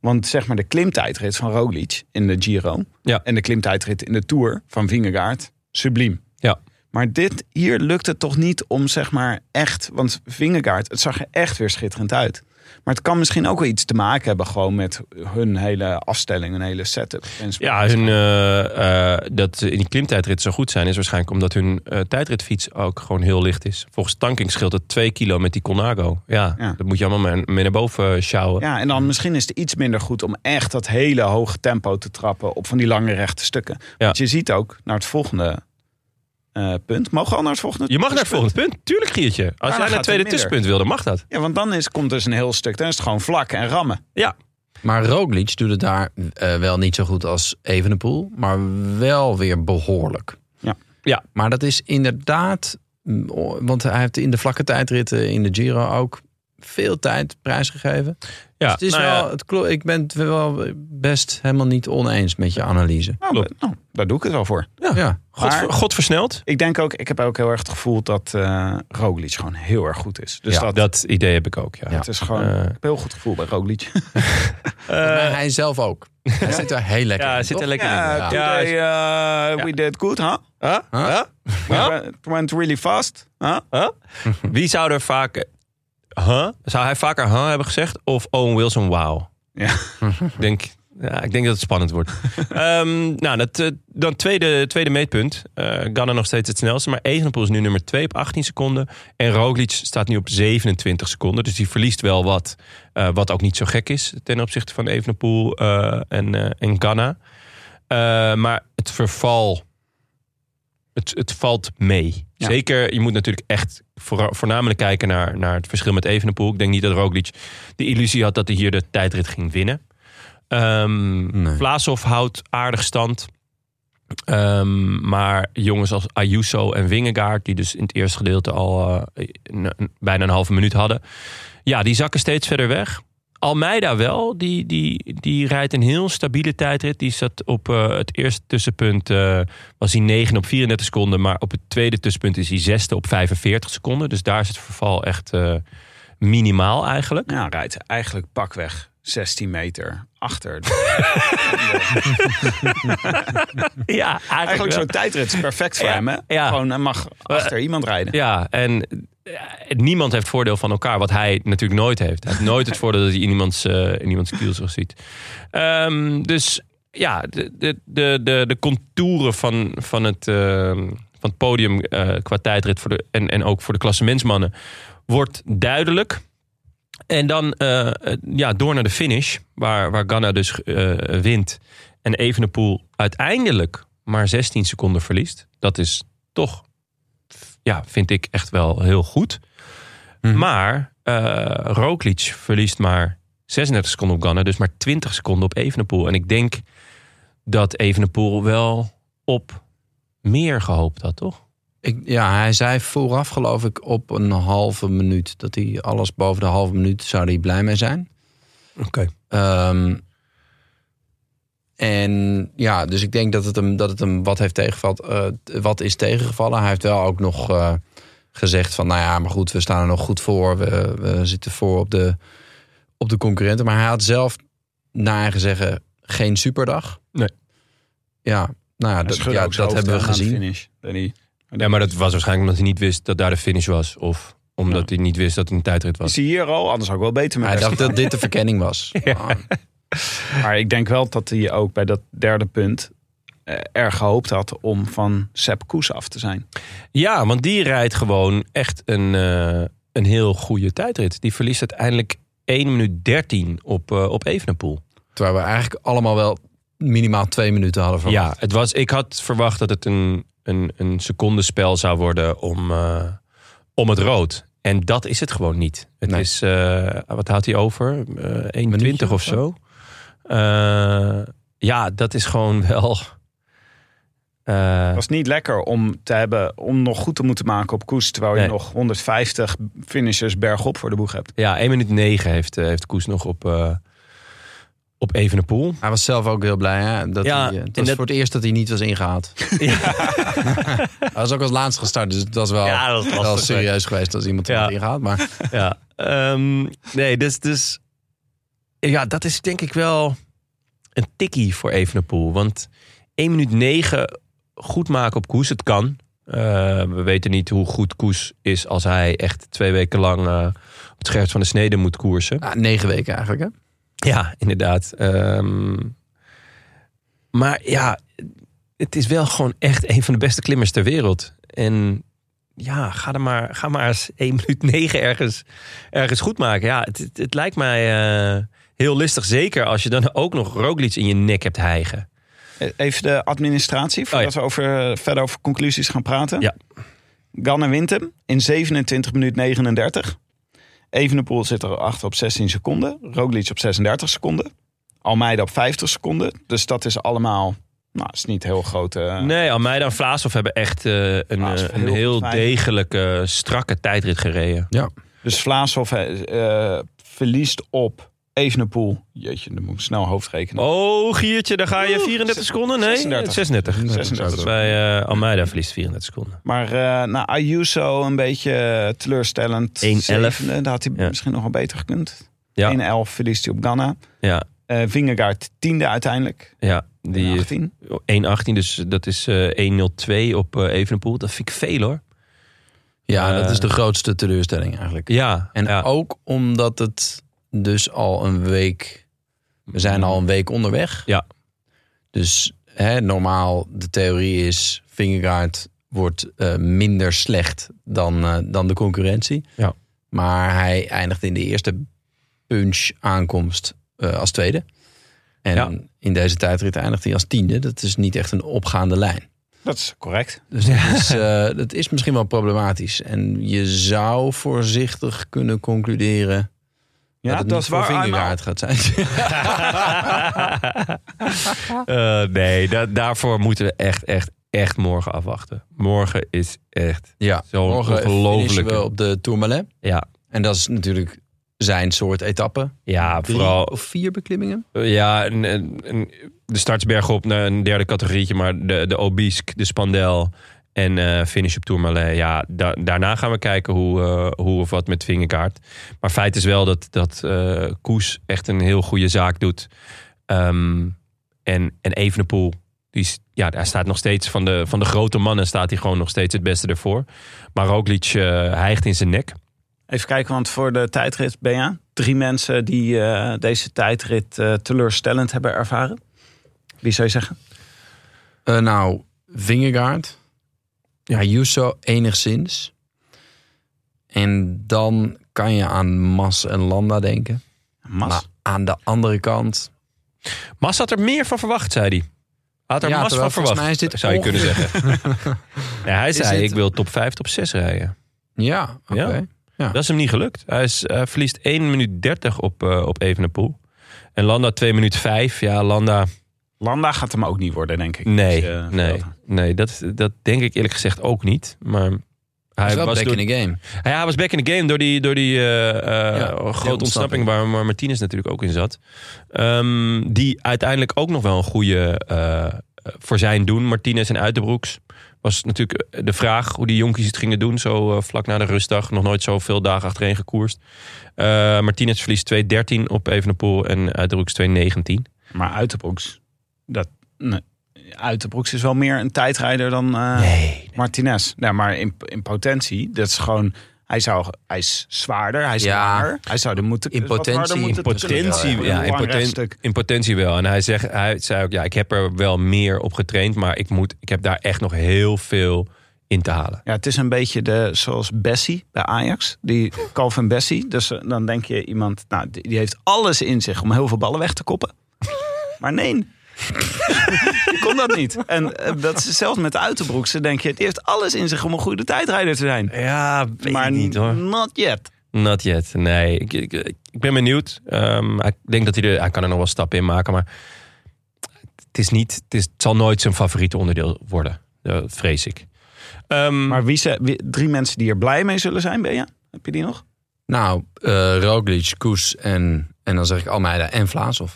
S1: Want zeg maar de klimtijdrit van Roglic in de Giro...
S3: Ja.
S1: en de klimtijdrit in de Tour van Vingegaard, subliem.
S3: Ja.
S1: Maar dit, hier lukt het toch niet om zeg maar echt... Want Vingegaard, het zag er echt weer schitterend uit. Maar het kan misschien ook wel iets te maken hebben... gewoon met hun hele afstelling, hun hele setup. En zo.
S3: Ja, hun, eh, eh, dat ze in die klimtijdrit zo goed zijn... is waarschijnlijk omdat hun eh, tijdritfiets ook gewoon heel licht is. Volgens Tanking scheelt het twee kilo met die Colnago. Ja,
S1: Ja.
S3: dat moet je allemaal mee, mee naar boven eh, sjouwen.
S1: Ja, en dan misschien is het iets minder goed om echt dat hele hoge tempo te trappen... op van die lange rechte stukken. Want je ziet ook naar het volgende eh, punt. Mogen we al naar het volgende
S3: Je mag naar het
S1: punt?
S3: volgende punt. Tuurlijk, Giertje. Als jij
S1: gaat
S3: naar het
S1: het
S3: tweede
S1: minder.
S3: tussenpunt wilde, mag dat.
S1: Ja, want dan is, komt dus een heel stuk. Dan is het gewoon vlak en rammen.
S3: Ja,
S2: Maar Roglic doet het daar eh, wel niet zo goed als Evenepoel. Maar wel weer behoorlijk.
S1: Ja.
S3: Ja.
S2: Maar dat is inderdaad... mm, o- Want hij heeft in de vlakke tijdritten in de Giro ook veel tijd prijsgegeven.
S3: ja.
S2: Dus het is
S3: nou ja.
S2: wel, het klo- ik ben het wel best helemaal niet oneens met je analyse.
S1: Nou,
S3: Klopt.
S1: nou, daar doe ik het wel voor.
S2: Ja,
S3: God,
S1: Maar-
S3: God versneld.
S1: Ik denk ook, ik heb ook heel erg het gevoel dat eh Roglic gewoon heel erg goed is. Dus
S2: Ja,
S1: dat,
S3: Dat idee heb ik ook, ja.
S2: Ja.
S1: het is gewoon
S3: Eh.
S1: ik heb een heel goed gevoel bij Roglic.
S2: Maar hij zelf ook. Hij zit er heel lekker
S3: Ja,
S2: in,
S3: hij zit er
S2: toch?
S3: lekker in.
S2: Ja.
S3: Ja,
S1: today, eh,
S3: Ja.
S1: we did good, huh?
S3: Huh?
S2: Huh?
S3: Huh? Huh?
S1: It went- It Eh, went really fast. Huh?
S3: Huh? Wie zou er vaker... Huh? Zou hij vaker huh hebben gezegd? Of Owen Wilson wow?
S1: Ja.
S3: ik, denk, ja, ik denk dat het spannend wordt. Ehm, nou, dat, eh, dan tweede, tweede meetpunt. Eh Ganna nog steeds het snelste. Maar Evenepoel is nu nummer 2 op 18 seconden. En Roglic staat nu op 27 seconden. Dus die verliest wel wat. eh, wat ook niet zo gek is ten opzichte van Evenepoel eh, en, eh, en Ganna. Eh, maar het verval... Het, het valt mee.
S1: Ja.
S3: Zeker, je moet natuurlijk echt voor- voornamelijk kijken naar, naar het verschil met Evenepoel. Ik denk niet dat Roglic de illusie had dat hij hier de tijdrit ging winnen. Ehm
S2: Nee.
S3: Vlaashoff houdt aardig stand. Ehm, maar jongens als Ayuso en Wingegaard, die dus in het eerste gedeelte al eh, een- een- bijna een halve minuut hadden. Ja, die zakken steeds verder weg. Almeida wel, die, die, die rijdt een heel stabiele tijdrit. Die zat op eh, het eerste tussenpunt, eh, was hij 9 op 34 seconden. Maar op het tweede tussenpunt is hij zesde op 45 seconden. Dus daar is het verval echt eh, minimaal eigenlijk.
S1: Ja, rijdt eigenlijk pakweg 16 meter achter.
S3: Ja, eigenlijk,
S1: eigenlijk
S3: wel.
S1: zo'n tijdrit is perfect voor
S3: Ja,
S1: hem. Hè?
S3: ja.
S1: Gewoon, hij mag achter iemand rijden.
S3: Ja, en eh, niemand heeft voordeel van elkaar, wat hij natuurlijk nooit heeft. Hij heeft nooit het voordeel dat hij in iemands, eh, in iemands kielzog ziet. Ehm, dus ja, de, de, de, de, de contouren van, van, het, ehm, van het podium eh, qua tijdrit voor de, en, en ook voor de klassementsmannen wordt duidelijk. En dan eh, eh, ja, door naar de finish, waar, waar Ghana dus eh, wint. En Evenepoel uiteindelijk maar 16 seconden verliest. Dat is toch, ja, vind ik echt wel heel goed.
S2: Mhm.
S3: Maar eh Roglic verliest maar 36 seconden op Ganna, dus maar 20 seconden op Evenepoel. En ik denk dat Evenepoel wel op meer gehoopt had, toch?
S2: Ik, ja, hij zei vooraf geloof ik op een halve minuut. Dat hij alles boven de halve minuut zou hij blij mee zijn.
S3: Oké.
S2: Ehm, en ja, dus ik denk dat het hem, dat het hem wat heeft tegengevallen. eh, wat is tegengevallen. Hij heeft wel ook nog eh, gezegd van, nou ja, maar goed, we staan er nog goed voor. We, we zitten voor op de, op de concurrenten. Maar hij had zelf, naar eigen zeggen, geen superdag.
S3: Nee.
S2: Ja, nou ja,
S1: Hij
S2: dat,
S1: schudde
S2: ja,
S1: ook zijn
S2: dat
S1: hoofd
S2: hebben we
S1: aan aan de
S2: gezien.
S1: Finish, Danny.
S3: Ja, maar dat was waarschijnlijk omdat hij niet wist dat daar de finish was. Of omdat hij niet wist dat het een tijdrit was.
S1: Is hij hier al? Anders had ik wel beter met
S2: Hij
S1: hem
S2: dacht dat dit de verkenning was. Ah,
S1: Maar ik denk wel dat hij ook bij dat derde punt eh, erg gehoopt had om van Sepp Koes af te zijn.
S3: Ja, want die rijdt gewoon echt een, eh, een heel goede tijdrit. Die verliest uiteindelijk 1 minuut 13 op, eh, op Evenepoel.
S2: terwijl we eigenlijk allemaal wel minimaal twee minuten hadden verwacht.
S3: Ja, het was, ik had verwacht dat het een, een, een secondenspel zou worden om, eh, om het rood. En dat is het gewoon niet. Het
S2: Nee.
S3: is, eh, wat houdt hij over? Eh 1,20 of
S2: of zo?
S3: zo. Eh, ja, dat is gewoon wel... eh,
S1: Het was niet lekker om te hebben om nog goed te moeten maken op Koes, terwijl
S3: Nee.
S1: je nog 150 finishers bergop voor de boeg hebt.
S3: ja, 1 minuut 9 heeft, eh, heeft Koes nog op, eh op Evenepoel.
S2: Hij was zelf ook heel blij. Hè? Dat
S3: Ja,
S2: hij, eh, het
S3: en
S2: was
S3: dat-
S2: voor het eerst dat hij niet was ingehaald. hij was ook als laatste gestart. Dus dat was wel,
S3: Ja, dat was
S2: wel
S3: lastig,
S2: serieus geweest als iemand hem
S3: Ja.
S2: had ingehaald. Maar
S3: Ja, ehm, nee, dus, dus... Ja, dat is denk ik wel een tikkie voor Evenepoel. Want 1 minuut 9 goed maken op Koes, het kan. Eh, we weten niet hoe goed Koes is als hij echt twee weken lang eh, op het scherpst van de snede moet koersen.
S2: ah, negen weken eigenlijk. Hè?
S3: Ja, inderdaad. Ehm, maar ja, het is wel gewoon echt een van de beste klimmers ter wereld. En ja, ga, er maar, ga maar eens 1 minuut 9 ergens, ergens goed maken. Ja, het, het, het lijkt mij eh, heel listig. Zeker als je dan ook nog Roglic in je nek hebt hijgen.
S1: Eh, Even de administratie, voordat we over, eh, verder over conclusies gaan praten.
S3: Ja.
S1: Ganna wint hem in 27 minuut 39. Evenepoel zit er achter op 16 seconden. Roglic op 36 seconden. Almeida op 50 seconden. Dus dat is allemaal... Nou, is niet heel eh. grote...
S3: Nee, Almeida en Vlaashoff hebben echt eh, een,
S1: Vlaashoff
S3: eh, een
S1: heel
S3: heel
S1: goed vijf.
S3: degelijke, strakke tijdrit gereden.
S1: Dus Vlaashoff eh, eh, verliest op Evenepoel. Jeetje, dan moet ik snel hoofdrekenen.
S3: Oh, Giertje, daar ga je 34 seconden? Nee,
S1: 36.
S3: 36.
S1: 36.
S3: Bij eh, Almeida verliest 34 seconden.
S1: Maar eh nou, Ayuso een beetje eh, teleurstellend.
S3: 1-11.
S1: Zevende, Dat had hij
S3: Ja.
S1: misschien nog wel beter gekund.
S3: Ja.
S1: 1-11 verliest hij op Ghana.
S3: Ja,
S1: Eh Vingegaard tiende uiteindelijk.
S3: Ja, die
S1: 18.
S3: 1,18. Dus dat is eh 1,02 op eh Evenepoel. Dat vind ik veel hoor.
S2: Ja, dat
S3: Eh.
S2: is de grootste teleurstelling eigenlijk.
S3: Ja.
S2: En Oh.
S3: ja.
S2: ook omdat het dus al een week... We zijn al een week onderweg.
S3: Ja.
S2: Dus hè, normaal, de theorie is... Vingegaard wordt eh, minder slecht dan, eh, dan de concurrentie.
S3: Ja.
S2: Maar hij eindigt in de eerste punch aankomst eh, als tweede. En
S3: Ja.
S2: in deze tijdrit eindigt hij als tiende. Dat is niet echt een opgaande lijn.
S1: Dat is correct.
S2: Dus dat is, eh, dat is misschien wel problematisch. En je zou voorzichtig kunnen concluderen
S1: Ja,
S2: dat het
S1: dat
S2: niet
S1: is
S2: voor
S1: waar,
S2: Vingegaard gaat zijn.
S3: Eh, nee, da- daarvoor moeten we echt, echt, echt morgen afwachten. Morgen is echt
S2: ja,
S3: zo'n
S2: morgen finishen we
S3: ongelofelijke...
S2: op de Tourmalet.
S3: Ja,
S2: En dat is natuurlijk zijn soort etappe.
S3: ja
S2: Drie
S3: vooral...
S2: of vier beklimmingen.
S3: eh, Ja, een, een, een- de startsberg op naar een derde categorietje. Maar de, de Obisque, de Spandel en eh, finish op Tourmalet. Ja, da- daarna gaan we kijken hoe, eh, hoe of wat met Vingegaard. Maar feit is wel dat, dat eh, Koes echt een heel goede zaak doet. Ehm, en, en Evenepoel, die, is- ja, daar staat nog steeds van de, van de grote mannen... staat hij gewoon nog steeds het beste ervoor. Maar Roglic eh hijgt in zijn nek.
S1: Even kijken, want voor de tijdrit ben je drie mensen die eh, deze tijdrit eh, teleurstellend hebben ervaren. Wie zou je zeggen?
S2: Eh, nou, Vingegaard. Ja, Jusso enigszins. En dan kan je aan Mas en Landa denken.
S1: Mas.
S2: Maar aan de andere kant...
S3: Mas had er meer van verwacht, zei hij. Had er
S2: Ja,
S3: massa
S2: terwijl
S3: van
S2: volgens
S3: verwacht,
S2: mij is dit
S3: zou je kunnen zeggen. nee, hij zei,
S2: dit-
S3: ik wil top 5, top 6 rijden.
S2: Ja, oké.
S3: Ja. Dat is hem niet gelukt. Hij, is, hij verliest 1 minuut 30 op, eh op Evenepoel. En Landa 2 minuut 5. Ja, Landa...
S1: Landa gaat hem ook niet worden, denk ik.
S3: Nee,
S1: Dus, eh,
S3: nee,
S1: dat-
S3: nee dat, dat denk ik eerlijk gezegd ook niet. Maar
S2: Hij is
S3: hij
S2: wel
S3: was,
S2: back
S3: door,
S2: in the game.
S3: ja, hij was back in the game door die, door die eh, eh, grote
S2: ontsnapping.
S3: ontsnapping, waar, waar Martinez natuurlijk ook in zat. Ehm, die uiteindelijk ook nog wel een goede eh, eh, voor zijn doen. Martinez en Uitenbroeks. Was natuurlijk eh, de vraag hoe die jonkies het gingen doen. Zo eh, vlak na de rustdag. Nog nooit zoveel dagen achtereen gekoerst. Eh Martinez verliest 2-13 op Evenepoel. En Uitenbroeks 2-19.
S1: Maar Uiterbroeks, dat, nee. Uiterbroeks is wel meer een tijdrijder dan eh, Martinez. Nee, maar in, in potentie, dat is gewoon... Hij, zou, hij is zwaarder, hij is
S2: Ja.
S1: zwaar. Hij zou er moeten...
S2: In
S1: dus wat harder
S2: potentie-
S1: moeten
S2: in
S1: kunnen.
S3: potentie,
S1: Een
S3: ja, in
S1: belangrijk
S3: poten-
S1: stuk.
S3: In potentie wel. En hij, zegt, hij zei ook, ja, ik heb er wel meer op getraind. Maar ik, moet, ik heb daar echt nog heel veel in te halen.
S1: Ja, het is een beetje de, zoals Bessie bij Ajax. Die Calvin Bessie. Dus eh, dan denk je iemand, nou, die, die heeft alles in zich om heel veel ballen weg te koppen. Maar nee. Die kon dat niet. En eh, dat is zelfs met Uiterbroek. Ze denk je, die heeft alles in zich om een goede tijdrijder te zijn.
S3: Ja, weet
S1: maar
S3: ik niet hoor.
S1: not yet.
S3: Not yet. Nee, ik, ik, ik ben benieuwd. Ehm, ik denk dat hij, er, hij kan er nog wel stappen in maken. Maar het, is niet, het, is, het zal nooit zijn favoriete onderdeel worden. Dat vrees ik. Ehm,
S1: Maar wie, ze, wie- drie mensen die er blij mee zullen zijn, ben je? Heb je die nog?
S2: Nou, eh Roglic, Koes en, en dan zeg ik Almeida en Vlaasov.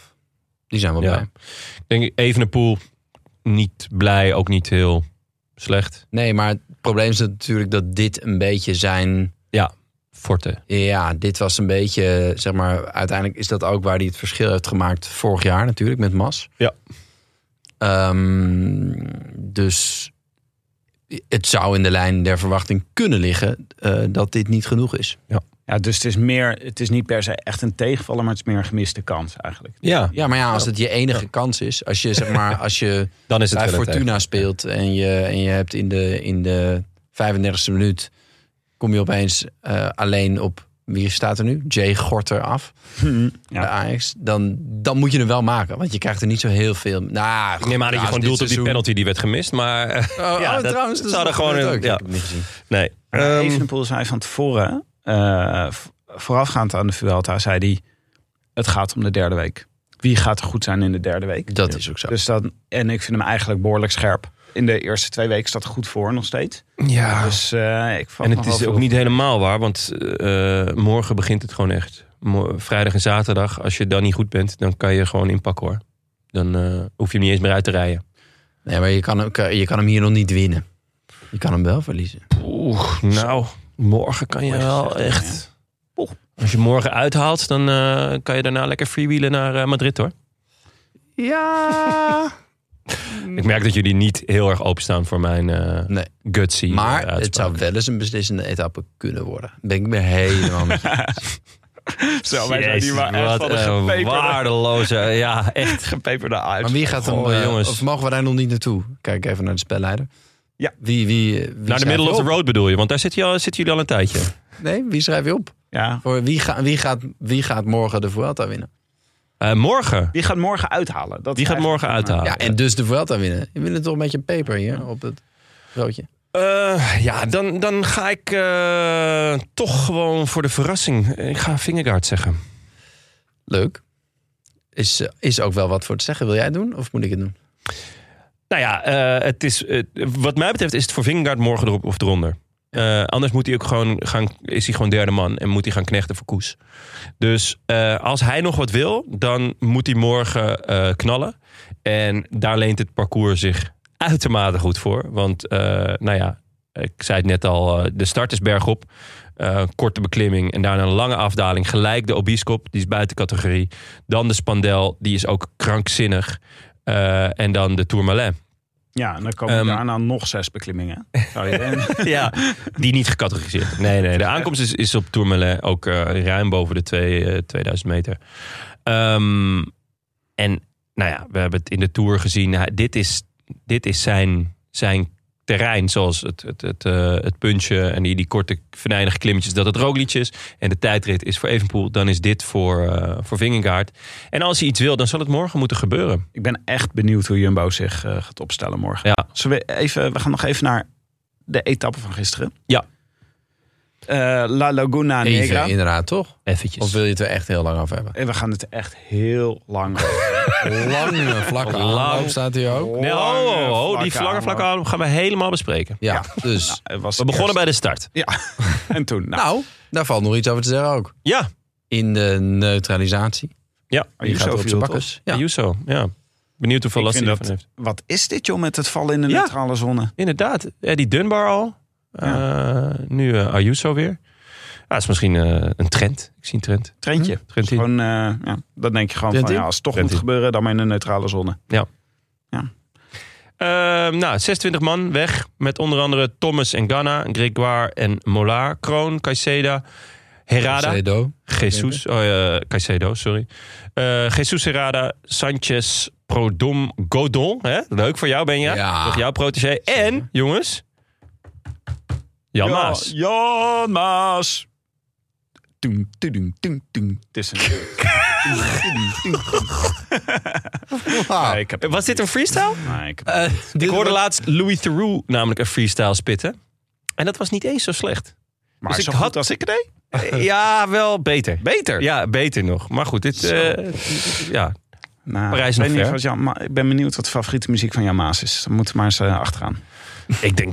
S2: Die zijn wel
S3: Ja.
S2: blij.
S3: ik denk Evenepoel niet blij, ook niet heel slecht.
S2: Nee, maar het probleem is natuurlijk dat dit een beetje zijn...
S3: Forte.
S2: Ja, dit was een beetje, zeg maar... Uiteindelijk is dat ook waar hij het verschil heeft gemaakt vorig jaar natuurlijk met Mas.
S3: Ja.
S2: Ehm, dus het zou in de lijn der verwachting kunnen liggen eh, dat dit niet genoeg is.
S1: Ja, dus het is, meer, het is niet per se echt een tegenvaller, maar het is meer een gemiste kans eigenlijk.
S3: Ja,
S2: Ja, maar ja, als het je enige kans is, als je zeg maar, als je
S3: dan is het
S2: bij
S3: wel een tegen.
S2: Fortuna speelt en je, en je hebt in de, in de 35e minuut, kom je opeens eh, alleen op, wie staat er nu? Jay Gorter af,
S1: Ja.
S2: bij Ajax. Dan, dan moet je hem wel maken, want je krijgt er niet zo heel veel. Nou,
S3: Ik neem aan dat je gewoon doelt op die penalty die werd gemist, maar... eh, ja, Oh, dat zou er gewoon een- ja. nee.
S1: Ehm Evenepoel zei van tevoren, eh, v- voorafgaand aan de Vuelta, zei hij... het gaat om de derde week. Wie gaat er goed zijn in de derde week?
S2: Dat is ook zo.
S1: Dus dan, en ik vind hem eigenlijk behoorlijk scherp. In de eerste twee weken staat hij goed voor nog steeds.
S3: ja,
S1: Dus eh, ik vat
S3: en
S1: nog
S3: het
S1: wel
S3: is
S1: veel.
S3: ook niet helemaal waar, want eh, eh, morgen begint het gewoon echt. Mo- Vrijdag en zaterdag, als je dan niet goed bent, dan kan je gewoon inpakken hoor. Dan eh, hoef je hem niet eens meer uit te rijden.
S2: Nee, maar je kan, ook, eh, je kan hem hier nog niet winnen. Je kan hem wel verliezen.
S3: Oeh, nou, morgen kan je wel echt... Als je morgen uithaalt, dan eh, kan je daarna lekker freewheelen naar eh, Madrid hoor.
S2: Ja.
S3: Ik merk dat jullie niet heel erg openstaan voor mijn eh
S2: Nee.
S3: gutsy
S2: Maar
S3: eh,
S2: het
S3: uitspraak.
S2: zou wel eens een beslissende etappe kunnen worden. Ben ik weer helemaal met je.
S1: Zo, wij zijn hier maar
S3: Jezus,
S1: echt
S3: wat
S1: van de
S3: een
S1: gepeperde,
S3: waardeloze, ja, echt
S1: gepeperde uit.
S2: Maar wie gaat hem,
S3: Goh,
S2: eh,
S3: jongens.
S2: of mogen we daar nog niet naartoe? Kijk even naar de spelleider.
S1: Ja.
S2: Wie, wie, eh, wie
S3: Naar de
S2: schrijf
S3: middle
S2: je
S3: of the
S2: op?
S3: road bedoel je? Want daar zitten, je al, zitten jullie al een tijdje.
S2: Nee, wie schrijf je op?
S1: Ja.
S2: Voor wie, ga, wie, gaat, wie gaat morgen de Vuelta winnen?
S3: Eh, morgen.
S1: Wie gaat morgen uithalen? Dat
S3: Die
S1: is
S3: gaat
S1: eigenlijk-
S3: morgen uithalen.
S2: ja, en dus de Vuelta winnen. Je winnen toch een beetje paper hier op het broodje.
S3: Eh, ja dan, dan ga ik eh, toch gewoon voor de verrassing. Ik ga Vingegaard zeggen.
S2: Leuk. Is, eh, is ook wel wat voor te zeggen. Wil jij het doen of moet ik het doen?
S3: Nou ja, eh, het is, eh, wat mij betreft is het voor Vingegaard morgen erop of eronder. Eh, anders moet hij ook gewoon gaan, is hij gewoon derde man en moet hij gaan knechten voor Koes. Dus eh, als hij nog wat wil, dan moet hij morgen eh, knallen. En daar leent het parcours zich uitermate goed voor. Want, eh, nou ja, ik zei het net al, eh, de start is bergop. Eh, korte beklimming en daarna een lange afdaling. Gelijk de Obiskop, die is buiten categorie. Dan de Spandel, die is ook krankzinnig. Eh, en dan de Tourmalet.
S1: Ja, en dan komen
S3: Ehm,
S1: daarna nog zes beklimmingen. Zou je-
S3: ja, die niet gecategoriseerd. Nee, nee. De aankomst is, is op Tourmalet ook eh, ruim boven de twee, eh, 2000 meter. Ehm, en nou ja, we hebben het in de Tour gezien. Hij- dit is, dit is zijn, zijn terrein, zoals het, het, het, eh, het puntje en die, die korte venijnige klimmetjes, dat het Roglic is. En de tijdrit is voor Evenpoel, dan is dit voor, eh voor Vingegaard. En als hij iets wil, dan zal het morgen moeten gebeuren.
S1: Ik ben echt benieuwd hoe Jumbo zich eh, gaat opstellen morgen.
S3: Ja.
S1: Zullen we, even, we gaan nog even naar de etappe van gisteren.
S3: Ja.
S1: Eh, La Laguna Negra.
S2: Even, inderdaad, toch?
S3: Eventjes.
S2: Of wil je het er echt heel lang af hebben?
S1: En we gaan het echt heel
S3: Oh,
S1: lang.
S2: Lange vlakke
S3: Lang. eh,
S2: aanloop staat hier ook.
S3: Nee, oh, oh, oh, die vlakke
S1: vlakke
S3: vlakke adem gaan we helemaal bespreken.
S2: Ja,
S1: Ja.
S2: dus.
S1: Nou, het was
S3: We begonnen
S1: eerst-
S3: bij de start.
S1: Ja, en toen. Nou,
S2: Nou, daar valt nog iets over te zeggen ook.
S3: Ja, Oh,
S2: In de neutralisatie.
S3: ja.
S2: Die gaat op zijn
S1: zoveel
S2: bakkers. Ja.
S3: Ayuso, ja. Benieuwd hoeveel
S1: Ik
S3: last hij
S1: vind
S3: ervan
S1: dat-
S3: heeft.
S1: Wat is dit, joh, met het vallen in de
S3: Ja.
S1: neutrale zone?
S3: Inderdaad. Ja, die Dunbar al. Eh, nu eh, Ayuso weer. Ja, dat is misschien eh, een trend. Ik zie een trend.
S1: Trentje.
S3: Hm? Trentje.
S1: Gewoon, eh, ja, dan denk je gewoon
S2: Trentje?
S1: van, ja, als het toch
S3: Trentje.
S1: moet gebeuren, dan maar in de neutrale zone.
S3: Ehm, nou, 26 man weg. Met onder andere Thomas en Ganna, Gregoire en Mola, Kroon, Caicedo, Herada,
S2: Cedo.
S3: Jesus, oh, eh, Caicedo, sorry. Eh Jesus Herada, Sanchez, Prodom, Godon. Hè? Leuk voor jou, Benja.
S2: Ja.
S3: Toch jouw protégé. En, jongens, Jan Maas.
S1: Ja, Jan Maas. Toen, toen, toen, toen, toen. Het is een... Toen, toen, toen, toen. Nee, ik heb...
S3: Eh, Was dit een freestyle?
S1: Nee, Ah, ik heb-
S2: Eh, dit
S3: Ik hoorde
S2: wordt-
S3: laatst Louis Theroux namelijk een freestyle spitten. En dat was niet eens zo slecht.
S1: Maar
S3: dus
S1: zo
S3: ik
S1: goed
S3: had-
S1: als ik het deed?
S3: Eh, Ja, wel beter.
S1: Beter.
S3: Ja, beter nog. Maar goed, dit... eh, ja.
S1: Nou,
S3: Parijs
S1: ik,
S3: nog
S1: ben
S3: ver.
S1: wat Jan, maar ik ben benieuwd wat de favoriete muziek van Jan Maas is. Dan moeten we maar eens eh, achteraan.
S3: Ik denk...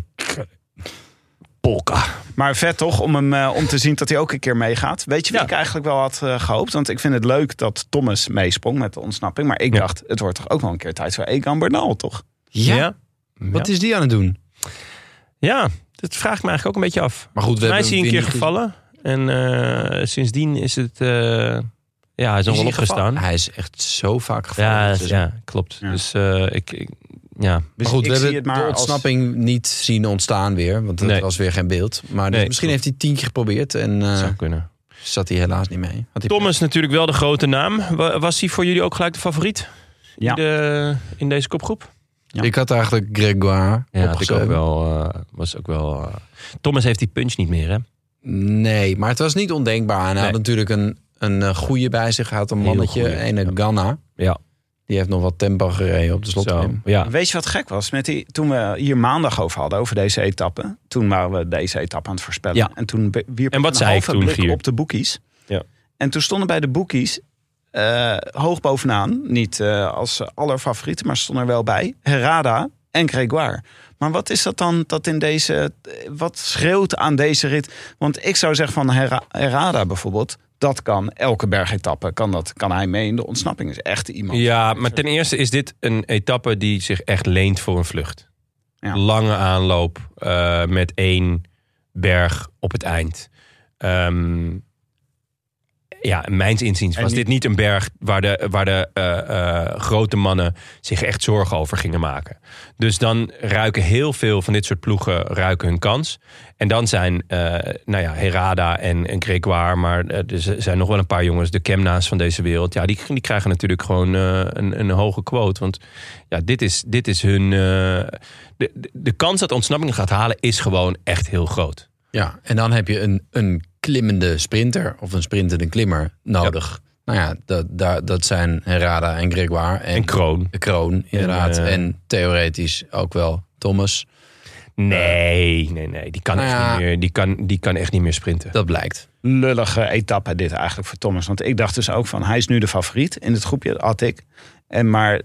S3: Polka.
S1: Maar vet toch, om, hem, eh, om te zien dat hij ook een keer meegaat. Weet je wat
S3: Ja.
S1: ik eigenlijk wel had eh, gehoopt? Want ik vind het leuk dat Thomas meesprong met de ontsnapping. Maar ik
S3: Ja.
S1: dacht, het wordt toch ook wel een keer tijd voor Egan Bernal, toch?
S2: Ja?
S3: Wat
S2: Wat is die aan het doen?
S3: ja, dat vraagt me eigenlijk ook een beetje af.
S2: Maar goed, we
S3: Hij
S2: hebben
S3: is hij
S2: hem
S3: een keer
S2: weer niet
S3: gevallen. En eh, sindsdien is het... eh, ja, hij
S2: gezien. Is
S3: is nog wel
S2: hij gevallen?
S3: opgestaan.
S2: Hij is echt zo vaak gevallen.
S3: Ja,
S2: dit
S3: dat-
S2: seizoen.
S3: ja, klopt.
S1: Ja.
S3: Dus eh, ik... ik- ja.
S1: Dus
S2: maar goed,
S1: ik
S2: we
S1: zie
S2: hebben de
S1: als-
S2: ontsnapping niet zien ontstaan weer. Want dat
S3: Nee.
S2: was weer geen beeld. Maar dus
S3: Nee,
S2: misschien
S3: klopt.
S2: heeft hij tien keer geprobeerd. En eh,
S3: zou kunnen.
S2: zat hij helaas niet mee. Had hij
S3: Thomas natuurlijk wel de grote naam. Wa- Was hij voor jullie ook gelijk de favoriet?
S1: Ja.
S3: in, de, in deze kopgroep.
S1: Ja.
S2: Ik had eigenlijk Gregoire
S3: Ja, had ik
S2: opgeschreven.
S3: ook wel, eh, was ook wel. eh, Thomas heeft die punch niet meer, hè?
S2: Nee, maar het was niet ondenkbaar. En hij had
S3: Nee.
S2: natuurlijk een, een eh, goeie bij zich. Hij had een
S3: Heel
S2: mannetje,
S3: goeie,
S2: een
S3: ja.
S2: Ghana.
S3: Ja.
S2: Die heeft nog wat tempo gereden op de slot.
S3: Zo, ja.
S1: Weet je wat gek was? Met die, toen we hier maandag over hadden, over deze etappe. Toen waren we deze etappe aan het voorspellen.
S3: Ja.
S1: En toen be- wierp
S3: En wat
S1: ik een
S3: zei ik
S1: halve
S3: toen,
S1: blik
S3: Gier?
S1: op de boekies.
S3: Ja.
S1: En toen stonden bij de boekies eh, hoog bovenaan. Niet eh, als allerfavorieten, maar stonden er wel bij. Herrada en Gregoire. Maar wat is dat dan dat in deze... eh, Wat schreeuwt aan deze rit? Want ik zou zeggen van Herra- Herrada bijvoorbeeld... Dat kan elke bergetappe. Kan, dat, kan hij mee in de ontsnapping? Is echt iemand.
S3: Ja, maar ten eerste is dit een etappe die zich echt leent voor een vlucht.
S1: Ja.
S3: Lange aanloop eh, met één berg op het eind. Ehm, ja, mijns inziens
S1: En
S3: was
S1: niet-
S3: dit niet een berg waar de, waar de eh, eh, grote mannen zich echt zorgen over gingen maken. Dus dan ruiken heel veel van dit soort ploegen ruiken hun kans. En dan zijn, eh, nou ja, Herada en, en Gregoire, maar eh, er z- zijn nog wel een paar jongens, de Kemna's van deze wereld. Ja, die, die krijgen natuurlijk gewoon eh, een, een hoge quote. Want ja, dit is, dit is hun. eh, de, de, de kans dat ontsnapping gaat halen is gewoon echt heel groot.
S2: Ja, en dan heb je een, een klimmende sprinter of een sprintende klimmer nodig. Nou ja, dat, daar, dat zijn Herrada en Gregoire en,
S3: En Kroon.
S2: Kroon inderdaad. En,
S3: eh,
S2: theoretisch ook wel Thomas.
S3: Nee, nee, nee. Die kan,
S2: Nou
S3: echt,
S2: ja.
S3: niet meer, die kan, die kan echt niet meer sprinten.
S2: Dat blijkt.
S1: lullige etappe dit eigenlijk voor Thomas. Want ik dacht dus ook van, hij is nu de favoriet in het groepje, dat had ik. En maar eh,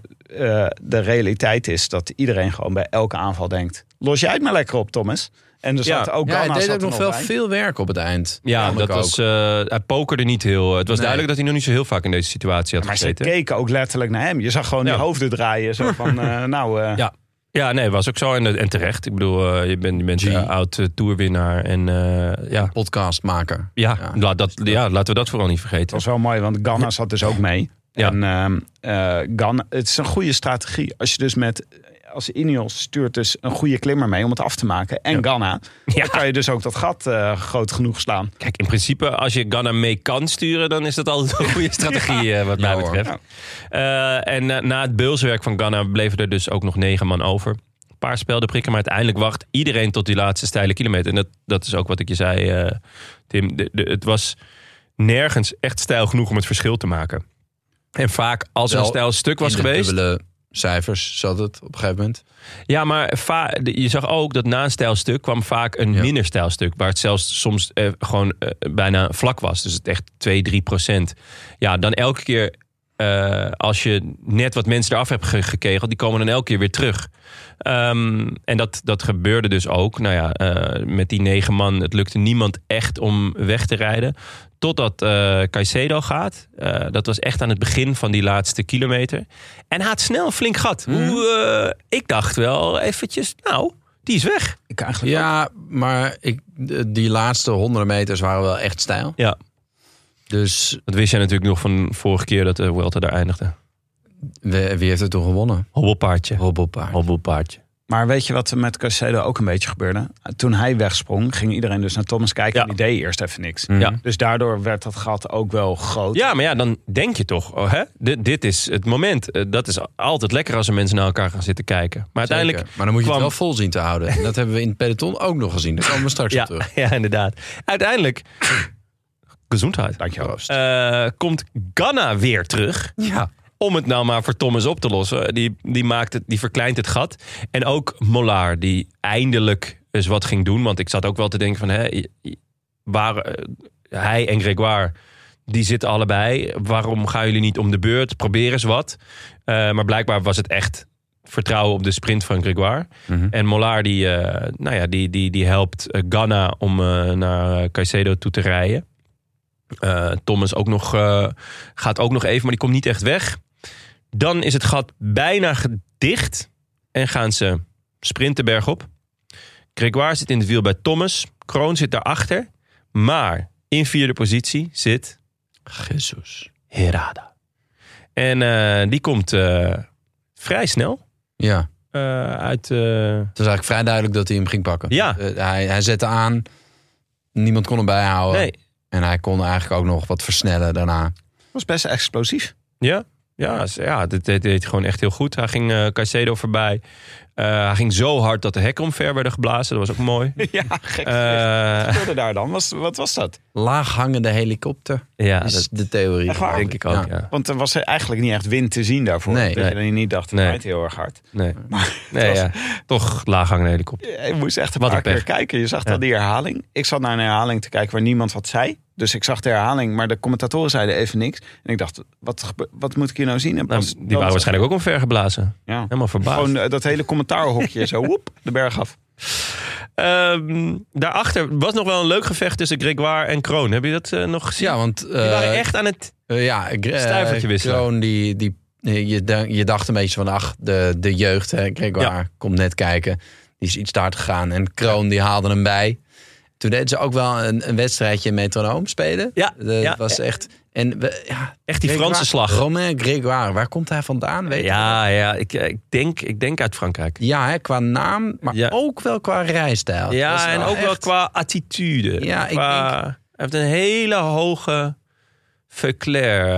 S1: de realiteit is dat iedereen gewoon bij elke aanval denkt... los jij het maar lekker op, Thomas. En er
S3: Ja.
S1: zat ook
S2: ja, hij
S1: Ganna
S2: deed
S1: zat
S2: ook
S1: er
S2: nog wel
S1: bij.
S2: veel werk op het eind.
S3: ja,
S2: Vond ik
S3: dat was, eh hij pokerde niet heel. Het
S2: Nee.
S3: was duidelijk dat hij nog niet zo heel vaak in deze situatie had
S1: Maar ze
S3: gezeten.
S1: keken ook letterlijk naar hem. Je zag gewoon
S3: Ja.
S1: die hoofden draaien. Zo van, eh, nou, eh,
S3: Ja. Ja, nee, was ook zo. En, en terecht. Ik bedoel, eh, je bent, je bent
S2: G.
S3: eh, oud eh, toerwinnaar. En eh, ja,
S2: podcastmaker.
S3: ja,
S2: Ja.
S3: Laat dat, ja, laten we dat vooral niet
S1: het
S3: vergeten.
S1: was wel mooi, want Ganna zat dus ook mee.
S3: Ja.
S1: En ehm eh, Ganna, het is een goede strategie. Als je dus met... Als Ineos stuurt dus een goede klimmer mee om het af te maken. En Ganna.
S3: Ja.
S2: Oh.
S1: Dan kan je dus ook dat gat eh, groot genoeg slaan.
S3: Kijk, in principe, als je Ghana mee kan sturen, dan is dat altijd een goede strategie, eh, wat mij
S2: Ja, hoor.
S3: betreft. Eh, en eh, na het beulswerk van Ghana bleven er dus ook nog negen man over. paar spelden prikken. Maar uiteindelijk wacht iedereen tot die laatste steile kilometer. En dat, dat is ook wat ik je zei, eh, Tim. De- de- het was nergens echt stijl genoeg om het verschil te maken. En vaak als er een
S2: Wel,
S3: stijl stuk was
S2: in de
S3: geweest...
S2: dubbele cijfers zat het op een gegeven moment.
S3: Ja, maar va- de- je zag ook dat na een stijlstuk kwam vaak een
S2: Ja.
S3: minder stijlstuk. Waar het zelfs soms eh, gewoon eh, bijna vlak was. Dus het echt 2, 3 procent. Ja, dan elke keer eh, als je net wat mensen eraf hebt ge- gekegeld... die komen dan elke keer weer terug. Ehm, en dat, dat gebeurde dus ook. Nou ja, eh, met die negen man, het lukte niemand echt om weg te rijden. Totdat eh Caicedo gaat. Eh, dat was echt aan het begin van die laatste kilometer. En hij had snel een flink gat. Hoe, eh, ik dacht wel eventjes, nou, die is weg.
S1: Ik eigenlijk
S2: Ja, maar ik, de- die laatste honderden meters waren wel echt stijl.
S3: Ja.
S2: Dus
S3: Dat wist jij natuurlijk nog van vorige keer dat de Welter daar eindigde.
S2: we- wie heeft er toen gewonnen?
S3: Hobbelpaardje.
S2: Hobbelpaard.
S3: Hobbelpaardje.
S1: Maar weet je wat er met Casedo ook een beetje gebeurde? Toen hij wegsprong, ging iedereen dus naar Thomas kijken.
S3: Ja.
S1: En die deed eerst even niks.
S2: Mhm.
S3: Ja.
S1: Dus daardoor werd dat gat ook wel groot.
S3: Ja, maar ja, dan denk je toch, oh, hè? Dit, dit is het moment. Eh, dat is altijd lekker als er mensen naar elkaar gaan zitten kijken. Maar uiteindelijk
S2: Zeker. Maar dan moet je
S3: kwam-
S2: het wel vol zien te houden. En dat hebben we in het peloton ook nog gezien. Daar komen we straks op
S3: ja,
S2: terug.
S3: ja, inderdaad. Uiteindelijk, gezondheid,
S1: Dankjewel.
S2: Proost.
S3: Eh, komt Ganna weer terug.
S2: ja.
S3: Om het nou maar voor Thomas op te lossen. Die, die, maakt het, die verkleint het gat. En ook Molaar, die eindelijk eens wat ging doen. Want ik zat ook wel te denken van... Hè, i- i- waar, eh, hij en Gregoire, die zitten allebei. Waarom gaan jullie niet om de beurt? Probeer eens wat. Eh, maar blijkbaar was het echt vertrouwen op de sprint van Gregoire. En Mollard die, eh, nou ja, die, die, die helpt eh, Ganna om eh, naar eh, Caicedo toe te rijden. Eh, Thomas ook nog, eh, gaat ook nog even, maar die komt niet echt weg. Dan is het gat bijna gedicht en gaan ze sprinten bergop. Gregoire zit in het wiel bij Thomas. Kroon zit daarachter. Maar in vierde positie zit
S2: Jezus.
S3: Herada. En eh, die komt eh, vrij snel
S2: Ja.
S3: eh, uit... eh,
S2: Het was eigenlijk vrij duidelijk dat hij hem ging pakken.
S3: Ja.
S2: Eh, hij, hij zette aan. Niemand kon hem bijhouden.
S3: nee,
S2: En hij kon eigenlijk ook nog wat versnellen daarna.
S1: was best explosief.
S3: Ja, ja, ze- ja dit dit deed hij gewoon echt heel goed. Hij ging eh Caicedo voorbij. Eh, hij ging zo hard dat de hekken omver werden geblazen. Dat was ook mooi.
S1: ja, gek. Wat
S3: Eh,
S1: gebeurde daar dan? Was, wat was dat?
S2: Laag hangende helikopter
S3: ja,
S2: is
S3: dat
S2: de theorie.
S1: Echt waar?
S3: denk ik ook. dus Ja.
S1: Want er was eigenlijk niet echt wind te zien daarvoor.
S2: Nee.
S1: dat je dan niet dacht, het
S3: Nee.
S1: waait heel erg hard.
S3: Nee, nee ja. toch laaghangende helikopter.
S1: Je moest echt een
S3: Wat
S1: paar
S3: een
S1: keer
S3: pech.
S1: kijken. Je zag
S3: Ja.
S1: dan die herhaling. Ik zat naar een herhaling te kijken waar niemand wat zei. Dus ik zag de herhaling, maar de commentatoren zeiden even niks. En ik dacht, wat, gebe- wat moet ik hier nou zien? En
S3: Nou,
S1: pas
S3: die
S1: dan-
S3: waren waarschijnlijk ook omver geblazen.
S1: Ja.
S3: Helemaal verbaasd.
S1: Gewoon eh, dat hele commentaarhokje zo, woep, de berg af.
S3: Ehm, daarachter was nog wel een leuk gevecht tussen Gregoire en Kroon. Heb je dat eh, nog gezien?
S2: Ja, want...
S3: Die waren
S2: eh,
S3: echt aan het...
S2: eh, ja, Gre- eh,
S3: Stuivertje wisselen.
S2: Kroon die... die eh, je, denk- je dacht een beetje van, ach, de, de jeugd, hè, Gregoire, komt net kijken. Die is iets te hard gegaan. En Kroon, die haalde hem bij. Toen deden ze ook wel een, een wedstrijdje metronoom spelen.
S3: Ja,
S2: Dat
S3: ja.
S2: was echt... En we, ja,
S3: Echt die
S2: Gregoire-
S3: Franse slag.
S2: Romain Grégoire, waar komt hij vandaan? Weet je?
S3: Ja, ja ik, eh, ik, denk, ik denk uit Frankrijk.
S2: Ja, hè, qua naam, maar
S3: Ja.
S2: ook wel qua rijstijl. Dat is
S3: Ja, en ook wel
S2: echt-
S3: qua attitude.
S2: Ja, ik
S3: Qua- Hij heeft een hele hoge verclair.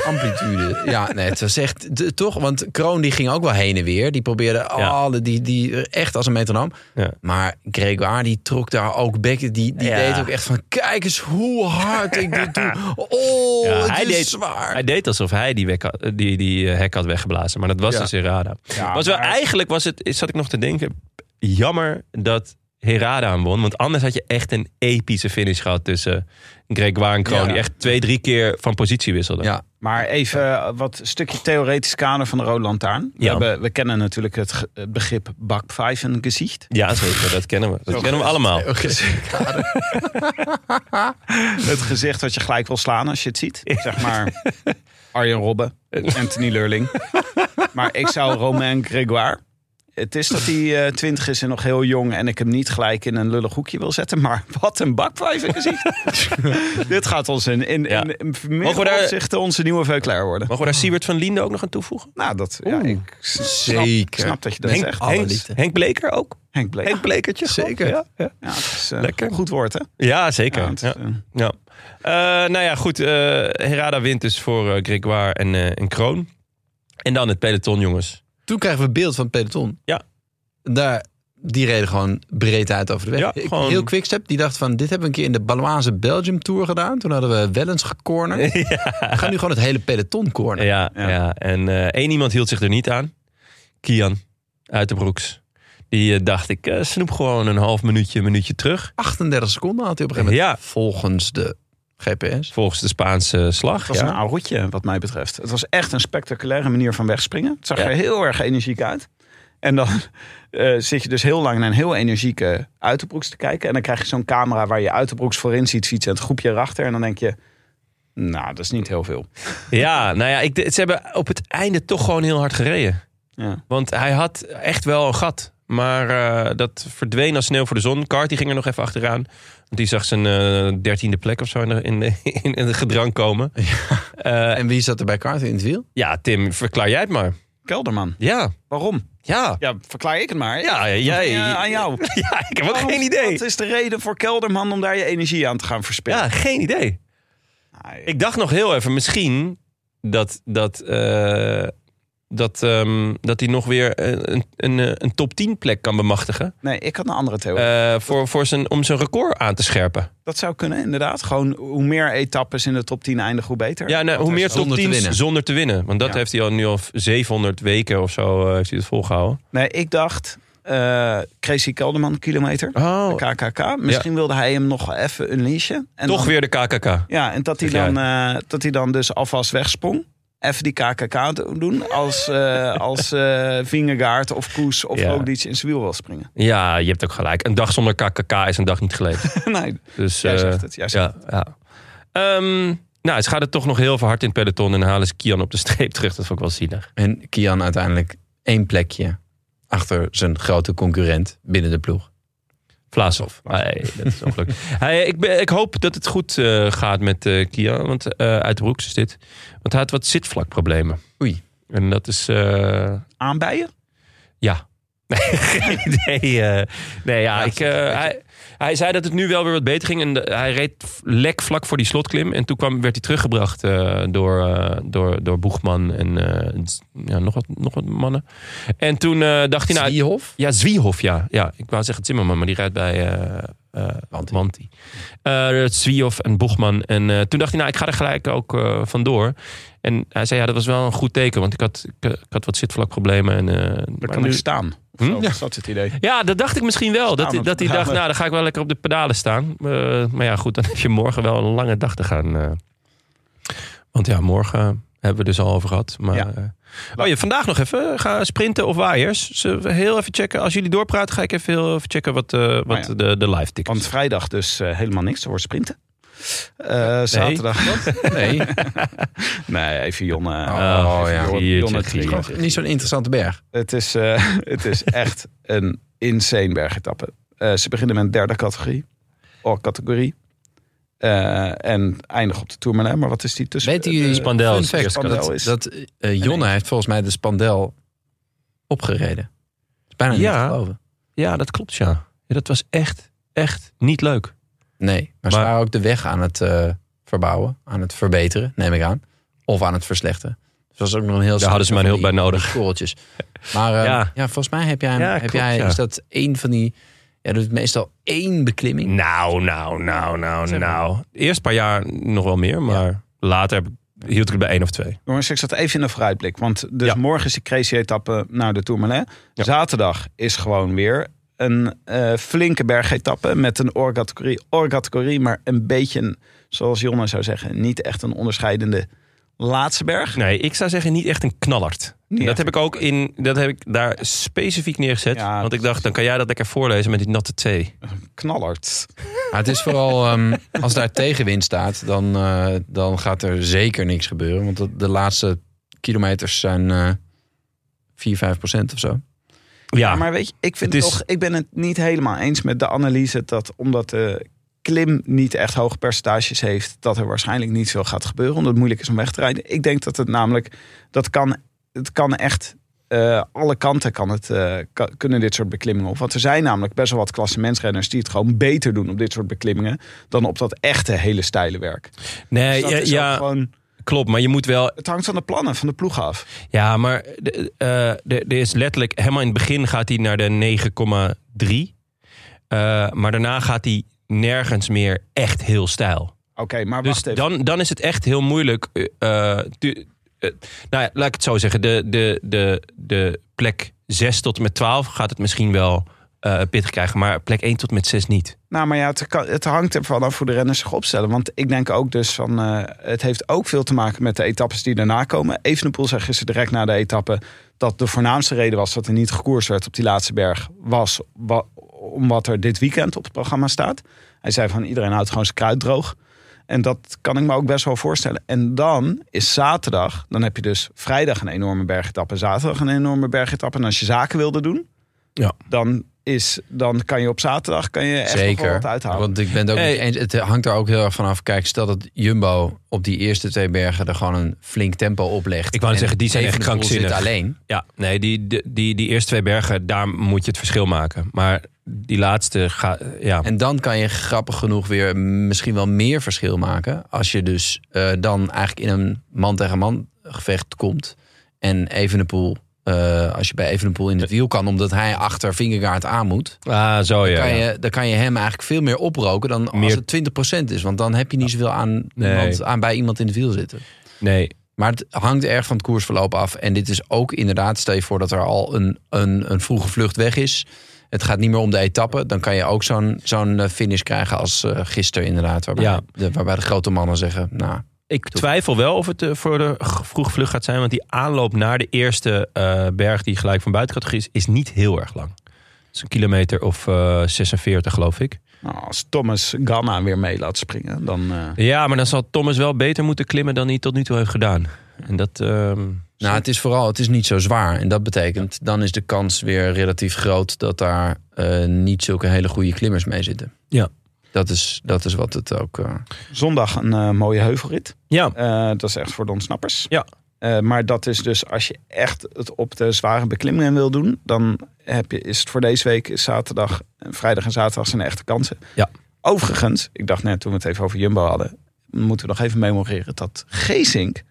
S3: eh.
S2: amplitude. Ja, nee, het was echt de- toch, want Kroon die ging ook wel heen en weer. Die probeerde alle, die, die echt als een metronoom.
S3: Ja.
S2: Maar Gregoire die trok daar ook bekken. Die, die
S3: Ja.
S2: deed ook echt van, kijk eens hoe hard ik dit doe. Oh,
S3: Ja,
S2: het
S3: hij
S2: is
S3: deed-
S2: zwaar.
S3: Hij deed alsof hij die, wek had- die, die eh, hek had weggeblazen. Maar dat was
S2: Ja.
S3: dus Herada.
S1: Ja,
S3: was wel,
S1: maar-
S3: Eigenlijk was het, zat ik nog te denken, jammer dat Herada hem won. Want anders had je echt een epische finish gehad tussen Gregoire en Kroon.
S2: Ja.
S3: Die echt twee, drie keer van positie wisselden.
S2: ja,
S1: Maar even eh, wat stukje theoretisch kader van de Rode Lantaarn. We,
S3: Ja.
S1: hebben, we kennen natuurlijk het ge- het begrip Backpfeifengezicht.
S3: Ja, zeker. Dat kennen we. Dat kennen we allemaal.
S1: Het gezicht dat je gelijk wil slaan als je het ziet. Zeg maar Arjen Robben, Anthony Lurling. Maar ik zou Romain Grégoire... Het is dat hij eh, twintig is en nog heel jong... en ik hem niet gelijk in een lullig hoekje wil zetten. Maar wat een bakwijvengezicht. Dit gaat ons in, in,
S3: Ja.
S1: in, in
S3: Mogen we daar-
S1: meerdere opzichten onze nieuwe Veuclair worden.
S3: Mogen we daar Siebert van Liende ook nog aan toevoegen?
S1: Nou, dat... Ja, ik snap,
S2: zeker.
S1: snap dat je dat
S3: Henk,
S1: zegt.
S2: alle
S3: Henk,
S2: liefde.
S3: Henk Bleker ook?
S1: Henk Bleek.
S3: Henk Blekertje? gewoon.
S2: Zeker.
S3: Ja, ja.
S1: Ja, het is, eh,
S3: Lekker.
S1: Goed woord, hè?
S3: Ja, zeker.
S1: Ja,
S3: Ja,
S1: het is, eh,
S3: ja. Eh, nou ja, goed. eh, Herada wint dus voor eh, Gregoire en, eh, en Kroon. En dan het peloton, jongens.
S2: Toen krijgen we beeld van het peloton.
S3: Ja.
S2: daar, die reden gewoon breed uit over de weg.
S3: Ja,
S2: Ik-
S3: gewoon-
S2: Heel quickstep, die dacht van, dit hebben we een keer in de Baloise Belgium Tour gedaan. Toen hadden we wel eens gecornerd. We gaan nu gewoon het hele peloton corneren.
S3: Ja, ja.
S1: Ja.
S3: en eh, één iemand hield zich er niet aan. Kian uit de Broeks. Die eh, dacht, ik eh, snoep gewoon een half minuutje, een minuutje terug.
S2: 38 seconden had hij op een gegeven moment.
S3: Ja.
S2: Volgens de GPS.
S3: Volgens de Spaanse eh, slag.
S1: Het nou?
S3: ja.
S1: was een oud roetje, wat mij betreft. Het was echt een spectaculaire manier van wegspringen. Het zag
S3: Ja.
S1: er heel erg energiek uit. En dan eh, zit je dus heel lang naar een heel energieke Uiterbroeks te kijken. En dan krijg je zo'n camera waar je Uiterbroeks voorin ziet fietsen en het groepje erachter. En dan denk je, nou, dat is niet heel veel.
S3: Ja, nou ja, ik, ze hebben op het einde toch gewoon heel hard gereden.
S1: Ja.
S3: Want hij had echt wel een gat. Maar eh, dat verdween als sneeuw voor de zon. Carty ging er nog even achteraan. Want die zag zijn eh, dertiende plek of zo in, de- in, de- in, het gedrang komen. Ja.
S2: En wie zat er bij Carter in het wiel?
S3: ja, Tim, verklaar jij het maar.
S1: Kelderman,
S3: Ja,
S1: waarom?
S3: ja.
S1: Ja, verklaar ik het maar.
S3: Ja, jij.
S1: Ja, aan jou.
S3: Ja, ik heb ook
S1: Waarom-
S3: geen idee.
S1: Wat is de reden voor Kelderman om daar je energie aan te gaan verspillen?
S3: Ja, geen idee.
S1: Nou,
S3: Ik dacht nog heel even, misschien dat, dat, eh, dat, ehm, dat hij nog weer een, een, eh, een top 10 plek kan bemachtigen.
S1: Nee, ik had een andere theorie.
S3: eh, voor, voor zijn, om zijn record aan te scherpen.
S1: dat zou kunnen, inderdaad. Gewoon hoe meer etappes in de top 10 eindigen, hoe beter.
S3: Ja, nou,
S1: Want
S3: hoe
S1: er
S3: meer
S1: is-
S3: top
S2: Zonder te
S3: 10's
S2: winnen.
S3: zonder te winnen. Want dat
S1: Ja.
S3: heeft hij al nu al 700 weken of zo eh, heeft hij het volgehouden.
S1: Nee, ik dacht eh Crazy Kelderman kilometer.
S3: Oh,
S1: KKK. Misschien wilde hij hem nog even unleashen. En
S3: toch
S1: dan-
S3: weer de KKK.
S1: Ja, en dat hij,
S3: Zeg jij.
S1: dan, eh, dat hij dan dus alvast wegsprong. Even die KKK do- doen als, eh als eh, Vingegaard of Koes of
S3: Ja.
S1: ook iets in zijn wiel wil springen.
S3: Ja, je hebt ook gelijk. Een dag zonder KKK is een dag niet geleefd.
S1: nee,
S3: Dus,
S1: jij
S3: eh,
S1: zegt het. Jij zegt
S3: Ja, ja. Ehm, nou, ze gaat het toch nog heel veel hard in het peloton en halen ze Kian op de streep terug. Dat vond ik wel zielig.
S2: En Kian uiteindelijk één plekje achter zijn grote concurrent binnen de ploeg.
S3: Vlaasov. Nee, dat is ongelukkig. Hij, ik, ben, ik hoop dat het goed eh, gaat met eh, Kian, want eh, uit de broeks is dit. Want hij had wat zitvlakproblemen.
S2: Oei.
S3: En dat is... eh,
S1: Aanbijen?
S3: Ja. nee, eh, nee, ja, ik, eh, hij, hij zei dat het nu wel weer wat beter ging. En de- hij reed f- lek vlak voor die slotklim. En toen kwam, werd hij teruggebracht eh, door, eh, door, door Boegman en eh, z- ja, nog, wat, nog wat mannen. En toen eh, dacht hij... Nou,
S2: Zwiehof?
S3: ja, Zwiehof, ja. ja. Ik wou zeggen Zimmerman, maar die rijdt bij eh eh,
S2: Wanty.
S3: Wanty. Eh, Zwiehof en Boegman. En eh, toen dacht hij, nou, ik ga er gelijk ook eh, vandoor. En hij zei, ja, dat was wel een goed teken. Want ik had, ik, ik had wat zitvlakproblemen. En, eh, maar
S1: Daar kan
S3: nu-
S1: ik staan.
S3: Hm?
S1: Zo,
S3: Ja.
S1: is Dat het idee.
S3: ja, dat dacht ik misschien wel. Dat,
S1: Staan op
S3: dat hij
S1: de
S3: dacht,
S1: pedalen.
S3: nou, dan ga ik wel lekker op de pedalen staan. Eh, maar ja, goed, dan heb je morgen wel een lange dag te gaan. eh. Want ja, morgen hebben we dus al over gehad. Maar,
S1: Ja.
S3: eh, oh ja, vandaag nog even. Ga sprinten of waaiers. Zullen we heel even checken. Als jullie doorpraten, ga ik even heel even checken wat, eh, wat
S1: Oh ja.
S3: de, de live tickets
S1: Want vrijdag dus eh, helemaal niks. Er wordt sprinten. Eh, zaterdag.
S2: Nee.
S1: Nee, even Jonne.
S2: Oh, ja.
S1: Jonne,
S3: Giertje,
S1: Jonne
S3: Giertje.
S1: Trio's.
S2: Niet zo'n interessante berg.
S1: Het is, eh, het is echt een insane bergetappe. Eh, ze beginnen met een derde categorie. Oh, categorie. Eh, en eindigen op de Tourmalet. Maar wat is die tussen?
S2: Weten jullie-
S1: eh,
S3: Spandel
S2: Fun
S3: is de
S2: fact,
S3: eerste
S1: Spandel
S2: dat,
S1: is-
S2: dat eh, Jonne heeft volgens mij de Spandel opgereden. Het is bijna niet
S3: Ja.
S2: te geloven.
S3: Ja, dat klopt, ja. Ja, Dat was echt, echt niet leuk.
S2: Nee, maar, ze
S3: Maar-
S2: waren ook de weg aan het eh, verbouwen, aan het verbeteren, neem ik aan. Of aan het verslechteren. Dus dat was ook nog een heel...
S3: Daar hadden ze mijn
S2: van
S3: hulp
S2: die-
S3: bij nodig.
S2: korreltjes. Maar eh,
S3: Ja.
S2: ja. volgens mij heb jij, hem-
S3: Ja,
S2: heb
S3: klopt,
S2: jij
S3: ja.
S2: is dat één van die. Ja, dat is meestal één beklimming.
S3: Nou, nou, nou, nou,
S2: Zeg maar.
S3: nou. Eerst een paar jaar nog wel meer, maar later heb ik- hield ik het bij één of twee.
S1: Jongens, ik zat even in de vooruitblik. Want dus
S3: Ja.
S1: morgen is de crazy etappe naar de Tourmalet.
S3: Ja.
S1: Zaterdag is gewoon weer een eh, flinke bergetappe. Met een orcategorie. Orcategorie, maar een beetje, een, zoals Jonne zou zeggen, niet echt een onderscheidende laatste berg.
S3: Nee, ik zou zeggen niet echt een knallert.
S1: Niet
S3: dat
S1: echt
S3: heb ik ook in, dat heb ik daar specifiek neergezet.
S1: Ja,
S3: want ik
S1: precies.
S3: dacht, dan kan jij dat lekker voorlezen met die natte thee.
S1: Knallert.
S2: Maar het is vooral, ehm, als daar tegenwind staat, dan, eh, dan gaat er zeker niks gebeuren. Want de, de laatste kilometers zijn eh 4, 5 procent of zo.
S3: Ja,
S1: Maar weet je, ik, vind
S3: Het is-
S1: toch, ik ben het niet helemaal eens met de analyse dat omdat de klim niet echt hoge percentages heeft, dat er waarschijnlijk niet veel gaat gebeuren, omdat het moeilijk is om weg te rijden. Ik denk dat het namelijk, dat kan, het kan echt, eh, alle kanten kan het, eh, ka- kunnen dit soort beklimmingen op. Want er zijn namelijk best wel wat klassementsrenners die het gewoon beter doen op dit soort beklimmingen dan op dat echte hele steile werk.
S3: nee,
S1: Dus dat
S3: Eh, ja,
S1: is ook
S3: ja,
S1: gewoon,
S3: klopt. Maar je moet wel...
S1: Het hangt van de plannen van de ploeg af.
S3: Ja, maar de- eh, de- er is letterlijk... Helemaal in het begin gaat hij naar de 9,3. Eh, maar daarna gaat hij nergens meer echt heel stijl.
S1: Oké, maar
S3: Dus
S1: wacht even.
S3: dan, dan is het echt heel moeilijk. eh, eh, tu- eh, nou ja, laat ik het zo zeggen. De, de, de, de plek 6 tot en met 12 gaat het misschien wel eh pittig krijgen. Maar plek 1 tot en met 6 niet.
S1: Nou, maar ja, het, kan- het hangt ervan af hoe de renners zich opstellen. Want ik denk ook dus van... eh, het heeft ook veel te maken met de etappes die daarna komen. Evenepoel zei gisteren direct na de etappe... dat de voornaamste reden was dat er niet gekoers werd op die laatste berg... was wa- om wat er dit weekend op het programma staat. Hij zei van iedereen houdt gewoon zijn kruid droog. En dat kan ik me ook best wel voorstellen. En dan is zaterdag... dan heb je dus vrijdag een enorme bergetappe... zaterdag een enorme bergetappe. En als je zaken wilde doen...
S3: Ja.
S1: dan... Is, dan kan je op zaterdag kan je echt nog wel
S2: Zeker.
S1: wat uithalen.
S2: Want ik ben het ook
S3: Hey.
S2: niet eens. Het hangt er ook heel erg van af. Kijk, stel dat Jumbo op die eerste twee bergen er gewoon een flink tempo oplegt.
S3: Ik wou net
S2: En
S3: zeggen, die zijn echt
S2: Evenepoel zit
S3: krankzinnig.
S2: alleen.
S3: Ja, nee, die, die, die, die eerste twee bergen, daar moet je het verschil maken. Maar die laatste gaat. Ja.
S2: En dan kan je grappig genoeg weer misschien wel meer verschil maken. Als je dus eh, dan eigenlijk in een man tegen man gevecht komt. En Evenepoel, eh, als je bij Evenepoel in het wiel kan, omdat hij achter Vingegaard aan moet.
S3: Ah, zo ja.
S2: Kan
S3: ja.
S2: je, dan kan je hem eigenlijk veel meer oproken dan
S3: Meer-
S2: als het 20% is. Want dan heb je niet zoveel aan,
S3: Nee.
S2: iemand- aan bij iemand in het wiel zitten.
S3: Nee,
S2: Maar het hangt erg van het koersverloop af. En dit is ook inderdaad, stel je voor dat er al een, een, een vroege vlucht weg is. Het gaat niet meer om de etappe. Dan kan je ook zo'n zo'n eh, finish krijgen als eh, gisteren inderdaad. Waarbij,
S3: Ja.
S2: de, waarbij de grote mannen zeggen, nou,
S3: Ik twijfel wel of het eh, voor de g- vroege vlucht gaat zijn. Want die aanloop naar de eerste eh, berg die gelijk van buitencategorie is, is niet heel erg lang. Het is een kilometer of eh, 46, geloof ik.
S1: Nou, als Thomas Ganna weer mee laat springen, dan... eh,
S3: Ja, maar dan zal Thomas wel beter moeten klimmen dan hij tot nu toe heeft gedaan. En dat... ehm,
S2: nou het is vooral het is niet zo zwaar. En dat betekent, dan is de kans weer relatief groot dat daar eh, niet zulke hele goede klimmers mee zitten.
S3: Ja.
S2: Dat is, dat is wat het ook... eh,
S1: zondag een eh, mooie heuvelrit.
S3: ja,
S1: Eh, dat is echt voor de ontsnappers.
S3: Ja.
S1: Eh, maar dat is dus als je echt het op de zware beklimmingen wil doen, dan heb je, is het voor deze week is zaterdag, eh, vrijdag en zaterdag zijn de echte kansen.
S3: Ja.
S1: Overigens, ik dacht net toen we het even over Jumbo hadden, moeten we nog even memoreren dat Geesink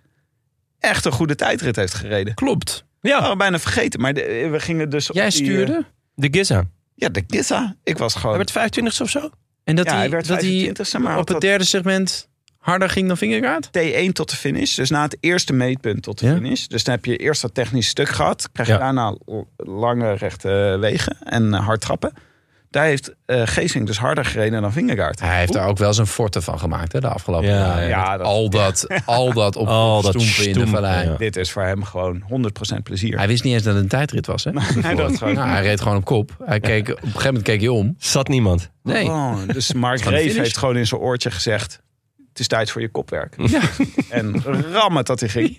S1: echt een goede tijdrit heeft gereden.
S3: klopt. Ja,
S1: Oh, bijna vergeten, maar de- we gingen dus. op
S2: Jij
S1: die, eh,
S2: stuurde?
S3: de Giza.
S1: ja, de Giza. Ik was
S3: Hij
S1: gewoon.
S3: werd 25 of zo?
S2: En dat
S1: ja,
S2: hij,
S1: hij werd
S2: dat hij
S1: 25ste, maar had
S2: op het
S1: dat-
S2: derde segment harder ging dan Vingegaard?
S1: T1 tot de finish. Dus na het eerste meetpunt tot de
S2: Ja.
S1: finish. Dus dan heb je eerst dat technisch stuk gehad. Krijg je
S3: Ja.
S1: daarna l- lange rechte wegen en eh, hard trappen. Daar heeft eh Geesing dus harder gereden dan Vingegaard.
S2: Hij heeft daar ook wel zijn forte van gemaakt hè, de afgelopen
S3: Ja,
S2: jaren.
S1: ja,
S2: Met
S1: dat-
S2: al, dat, al dat op
S3: Al dat
S2: stoempen in de
S3: stoempen,
S2: vallei. Nou,
S3: ja.
S1: Dit is voor hem gewoon 100% plezier.
S2: Hij wist niet eens dat het een tijdrit was. Hè?
S1: hij dacht gewoon-
S2: Nou, hij reed gewoon op kop. Hij keek, op een gegeven moment keek hij om.
S3: Zat niemand.
S2: Nee.
S1: Oh, dus Mark
S2: gewoon de
S1: Reef
S2: finish.
S1: heeft gewoon in zijn oortje gezegd... het is tijd voor je kopwerk.
S2: Ja.
S1: En rammen dat hij ging.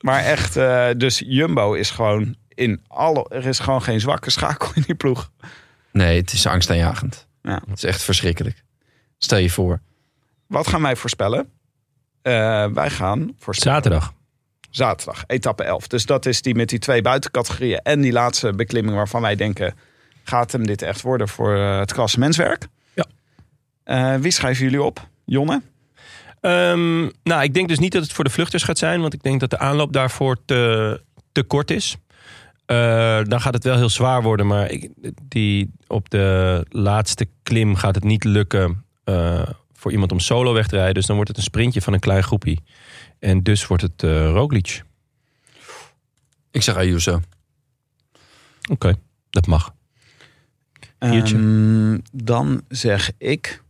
S1: Maar echt, eh, dus Jumbo is gewoon in alle... Er is gewoon geen zwakke schakel in die ploeg.
S2: Nee, het is angstaanjagend.
S1: Ja.
S2: Het is echt verschrikkelijk. Stel je voor.
S1: Wat gaan wij voorspellen? Eh, wij gaan voorspellen.
S3: Zaterdag.
S1: Zaterdag, etappe 11. Dus dat is die met die twee buitencategorieën en die laatste beklimming waarvan wij denken... gaat hem dit echt worden voor eh, het klassementswerk?
S3: Ja.
S1: Eh, wie schrijven jullie op? Jonne?
S3: Ehm, nou, ik denk dus niet dat het voor de vluchters gaat zijn. Want ik denk dat de aanloop daarvoor te, te kort is. Eh, dan gaat het wel heel zwaar worden. Maar ik, die, op de laatste klim gaat het niet lukken eh, voor iemand om solo weg te rijden. Dus dan wordt het een sprintje van een klein groepie. En dus wordt het eh Roglic.
S2: Ik zeg Ayuso.
S3: Oké, dat mag. Biertje.
S1: Ehm, dan zeg ik...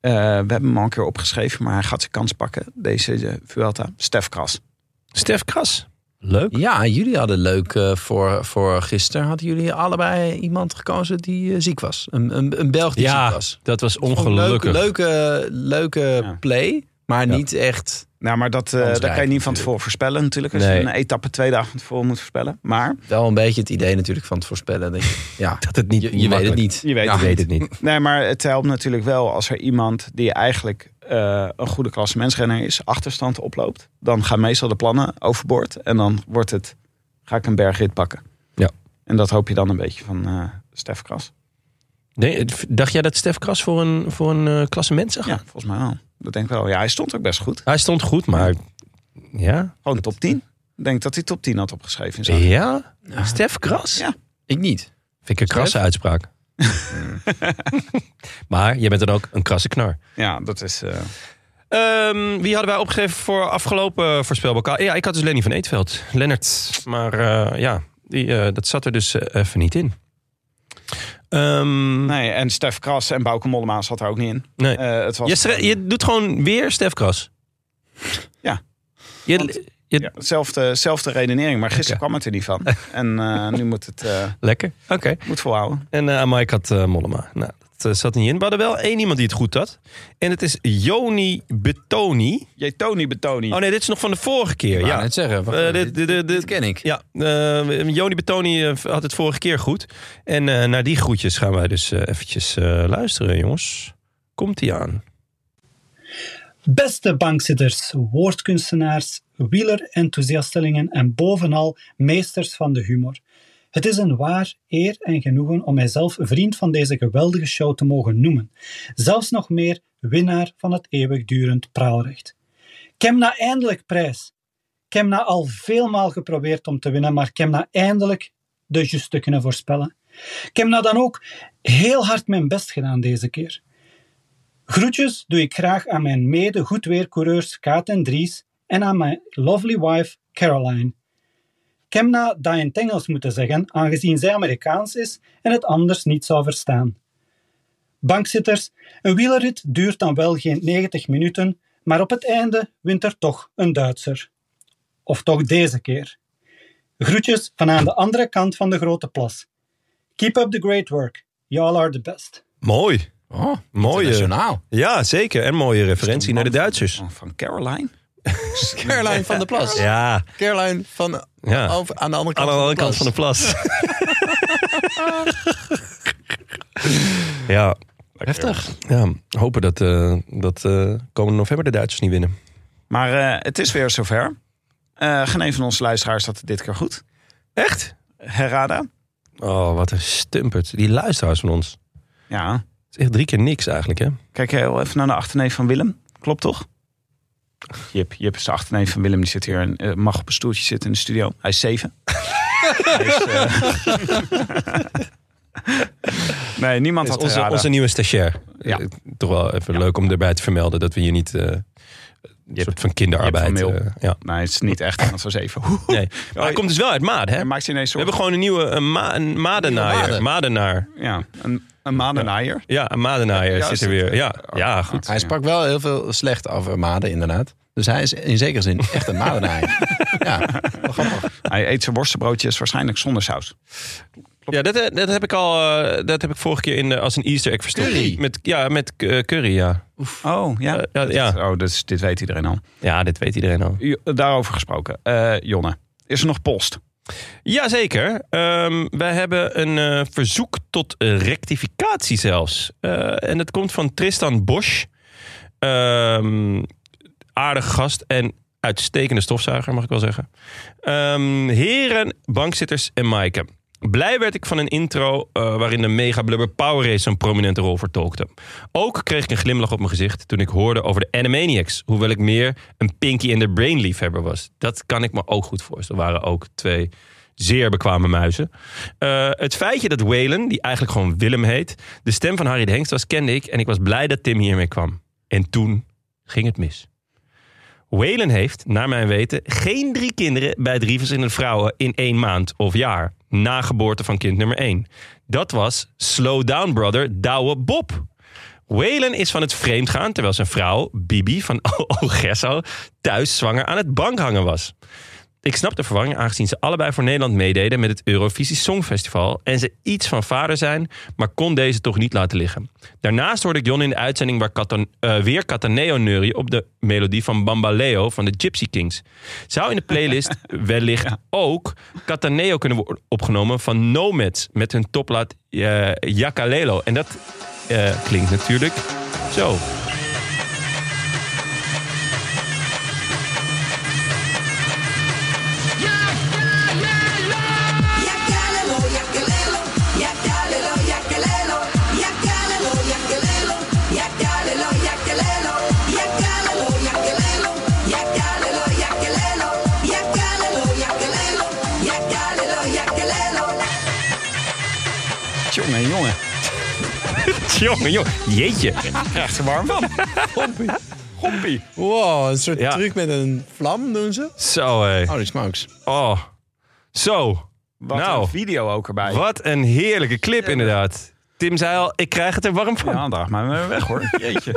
S1: eh, we hebben hem al een keer opgeschreven, maar hij gaat zijn kans pakken. Deze eh, Vuelta. Stef Kras.
S3: Stef Kras. Leuk.
S2: Ja, jullie hadden leuk eh, voor, voor gisteren. Hadden jullie allebei iemand gekozen die eh, ziek was? Een, een, een Belg die
S3: Ja,
S2: ziek was.
S3: dat was
S2: Leuke,
S3: ongelukkig.
S2: leuke, leuke
S1: Ja.
S2: play, maar
S3: Ja.
S2: niet echt.
S1: Nou, maar dat, eh,
S2: Kansrijker
S1: dat kan je niet van
S2: natuurlijk.
S1: tevoren voorspellen natuurlijk. Als je
S3: Nee.
S1: een etappe twee dagen van tevoren moet voorspellen. Maar
S2: Wel een beetje het idee natuurlijk van het voorspellen. Denk ik. Ja,
S3: Dat het niet
S2: je, je weet het niet.
S1: je weet
S2: Ja.
S3: Ik weet het niet.
S1: Nee, maar het helpt natuurlijk wel als er iemand die eigenlijk eh, een goede klassementsrenner is, achterstand oploopt. Dan gaan meestal de plannen overboord en dan wordt het, ga ik een bergrit pakken.
S3: Ja.
S1: En dat hoop je dan een beetje van eh Stef Kras.
S3: Nee, dacht jij dat Stef Kras voor een, voor een eh, klassement zou gaan?
S1: Ja, volgens mij wel. Dat denk ik wel. Ja, hij stond ook best goed.
S3: Hij stond goed, maar... Ja?
S1: Gewoon top 10. Ik denk dat hij top 10 had opgeschreven in zijn
S3: Ja? Stef Kras?
S1: Ja.
S2: Ik niet.
S3: Vind ik een krasse
S2: Stef?
S3: uitspraak. maar jij bent dan ook een krasse knar.
S1: Ja, dat is... eh,
S3: Ehm, wie hadden wij opgegeven voor afgelopen voorspelbokaal? Ja, ik had dus Lenny van Eetveld. Lennart. Maar eh, ja, die, eh, dat zat er dus eh, even niet in. Ehm,
S1: nee, en Stef Kras en Bouke Mollema zat er ook niet in.
S3: Nee.
S1: Eh, het was,
S3: je, stre- je doet gewoon weer Stef Kras.
S1: Ja.
S3: Je,
S1: Want-
S3: je-
S1: ja, hetzelfde, zelfde redenering, maar gisteren
S3: Oké.
S1: kwam het er niet van. En eh, nu moet het eh,
S3: Lekker. Oké.
S1: moet volhouden.
S3: En eh Mike had eh, Mollema. Nou, dat eh, zat niet in. We hadden wel één iemand die het goed had. En het is Joni Betoni.
S1: Jij Tony Betoni.
S3: Oh nee, dit is nog van de vorige keer.
S2: Ik wou
S3: ja.
S2: net zeggen. wacht
S3: Eh,
S2: even, dit,
S3: dit- dit- dit-
S2: dit ken ik.
S3: Ja, eh Joni Betoni eh, had het vorige keer goed. En eh, naar die groetjes gaan wij dus eh, eventjes eh, luisteren, jongens. Komt die aan?
S4: Beste bankzitters, woordkunstenaars, wieler-enthousiastelingen en bovenal meesters van de humor. Het is een waar eer en genoegen om mijzelf vriend van deze geweldige show te mogen noemen. Zelfs nog meer winnaar van het eeuwigdurend praalrecht. Kemna eindelijk prijs. Kemna al veelmaal geprobeerd om te winnen, maar Kemna eindelijk de juiste kunnen voorspellen. Kemna dan ook heel hard mijn best gedaan deze keer. Groetjes doe ik graag aan mijn mede goedweercoureurs Kaat en Dries en aan mijn lovely wife Caroline. Kemna dat in het Engels moeten zeggen, aangezien zij Amerikaans is en het anders niet zou verstaan. Bankzitters, een wielerrit duurt dan wel geen 90 minuten, maar op het einde wint er toch een Duitser. Of toch deze keer. Groetjes van aan de andere kant van de grote plas. Keep up the great work. Y'all are the best.
S3: Mooi.
S2: Oh,
S3: Mooie.
S2: internationaal.
S3: Ja, zeker. En mooie referentie naar de Duitsers.
S1: Van- Van Caroline.
S2: Caroline van der Plas.
S3: Ja,
S2: Caroline van,
S3: ja.
S2: over- aan de andere
S3: Aan
S2: kant,
S3: de andere
S2: plas.
S3: kant van de plas. ja.
S2: Heftig.
S3: ja, hopen dat, eh dat eh, komende november de Duitsers niet winnen.
S1: Maar eh, het is weer zover. Eh geen een van onze luisteraars had het dit keer goed.
S3: Echt?
S1: Herada.
S3: Oh, wat een stumpert. Die luisteraars van ons.
S1: Ja.
S3: Het is echt drie keer niks eigenlijk, hè?
S1: Kijk heel even naar de achterneef van Willem. Klopt toch? Jip, Jip is de achterneef van Willem. Die zit hier en eh, mag op een stoeltje zitten in de studio. Hij is zeven. Hij is, eh, nee, niemand
S3: Dat
S1: had
S3: is onze,
S1: Herada.
S3: onze nieuwe stagiair.
S1: Ja.
S3: Eh, Toch wel even leuk om erbij te vermelden dat we hier niet... eh, een soort van kinderarbeid...
S1: Mil.
S3: eh, ja.
S1: Nee, het is niet echt iemand van zeven. Hoehoe.
S3: nee. Maar hij komt dus wel uit Maad, hè?
S1: Hij
S3: We
S1: maakt zich ineens soort...
S3: hebben gewoon een nieuwe eh, ma- een madenaaier.
S2: Maden.
S3: Madenaar.
S1: Ja, een, een maandenaaier.
S3: Ja, Oh. een madenaaier Eh,
S1: Ja,
S3: zit er
S1: zit-
S3: weer. Ja, ja
S1: Ah,
S3: goed.
S2: Hij sprak wel heel veel slecht af eh, Maden, inderdaad. Dus hij is in zekere zin echt een madenaar. ja, wel grappig.
S1: Hij eet zijn worstenbroodjes waarschijnlijk zonder saus.
S3: Ja, dat, eh, dat heb ik al. eh, dat heb ik vorige keer in, eh, als een Easter egg verstopt.
S2: Curry.
S3: Met, ja, met eh, curry, ja.
S1: Oh, ja.
S3: Eh, ja, ja.
S1: Oh, dus dit weet iedereen al.
S3: Ja, dit weet iedereen al.
S1: Jo- Daarover gesproken. Eh, Jonne, is er nog post?
S3: Jazeker. Ehm wij hebben een eh, verzoek tot eh, rectificatie zelfs. Eh, en dat komt van Tristan Bosch. Ehm aardige gast en uitstekende stofzuiger, mag ik wel zeggen. Ehm, heren, bankzitters en Maaike. Blij werd ik van een intro eh, waarin de mega blubber Power Race een prominente rol vertolkte. Ook kreeg ik een glimlach op mijn gezicht toen ik hoorde over de Animaniacs. Hoewel ik meer een Pinky and the Brain liefhebber was. Dat kan ik me ook goed voorstellen. Er waren ook twee zeer bekwame muizen. Eh, het feitje dat Waylon, die eigenlijk gewoon Willem heet, de stem van Harry de Hengst was, kende ik. En ik was blij dat Tim hiermee kwam. En toen ging het mis. Waylon heeft, naar mijn weten, geen drie kinderen bij drie verschillende vrouwen in één maand of jaar. Na geboorte van kind nummer één. Dat was Slow Down Brother Douwe Bob. Waylon is van het vreemdgaan terwijl zijn vrouw, Bibi van Ogesso, thuis zwanger aan het bankhangen was. Ik snap de verwarring aangezien ze allebei voor Nederland meededen met het Eurovisie Songfestival en ze iets van vader zijn, maar kon deze toch niet laten liggen. Daarnaast hoorde ik Jon in de uitzending waar Catan- eh, weer Cataneo neurie op de melodie van Bambaleo van de Gypsy Kings. Zou in de playlist wellicht ook Cataneo kunnen worden opgenomen van Nomads met hun toplaat eh Yakalelo. En dat eh, klinkt natuurlijk zo.
S5: Yakalelo, yakalelo, yakalelo, yakalelo, yakalelo, yakalelo, yakalelo, yakalelo,
S3: jongen, jongen. Jeetje.
S1: Krijgt ze warm van. Gompie. Gompie.
S2: Wow, een soort
S3: Ja.
S2: truc met een vlam doen ze.
S3: Zo, hé.
S2: Holy smokes.
S3: Oh. Zo.
S1: Wat
S3: nou,
S1: een video ook erbij.
S3: wat een heerlijke clip inderdaad. Tim zei al, ik krijg het er warm van.
S1: Ja, draag maar weer weg hoor. Jeetje.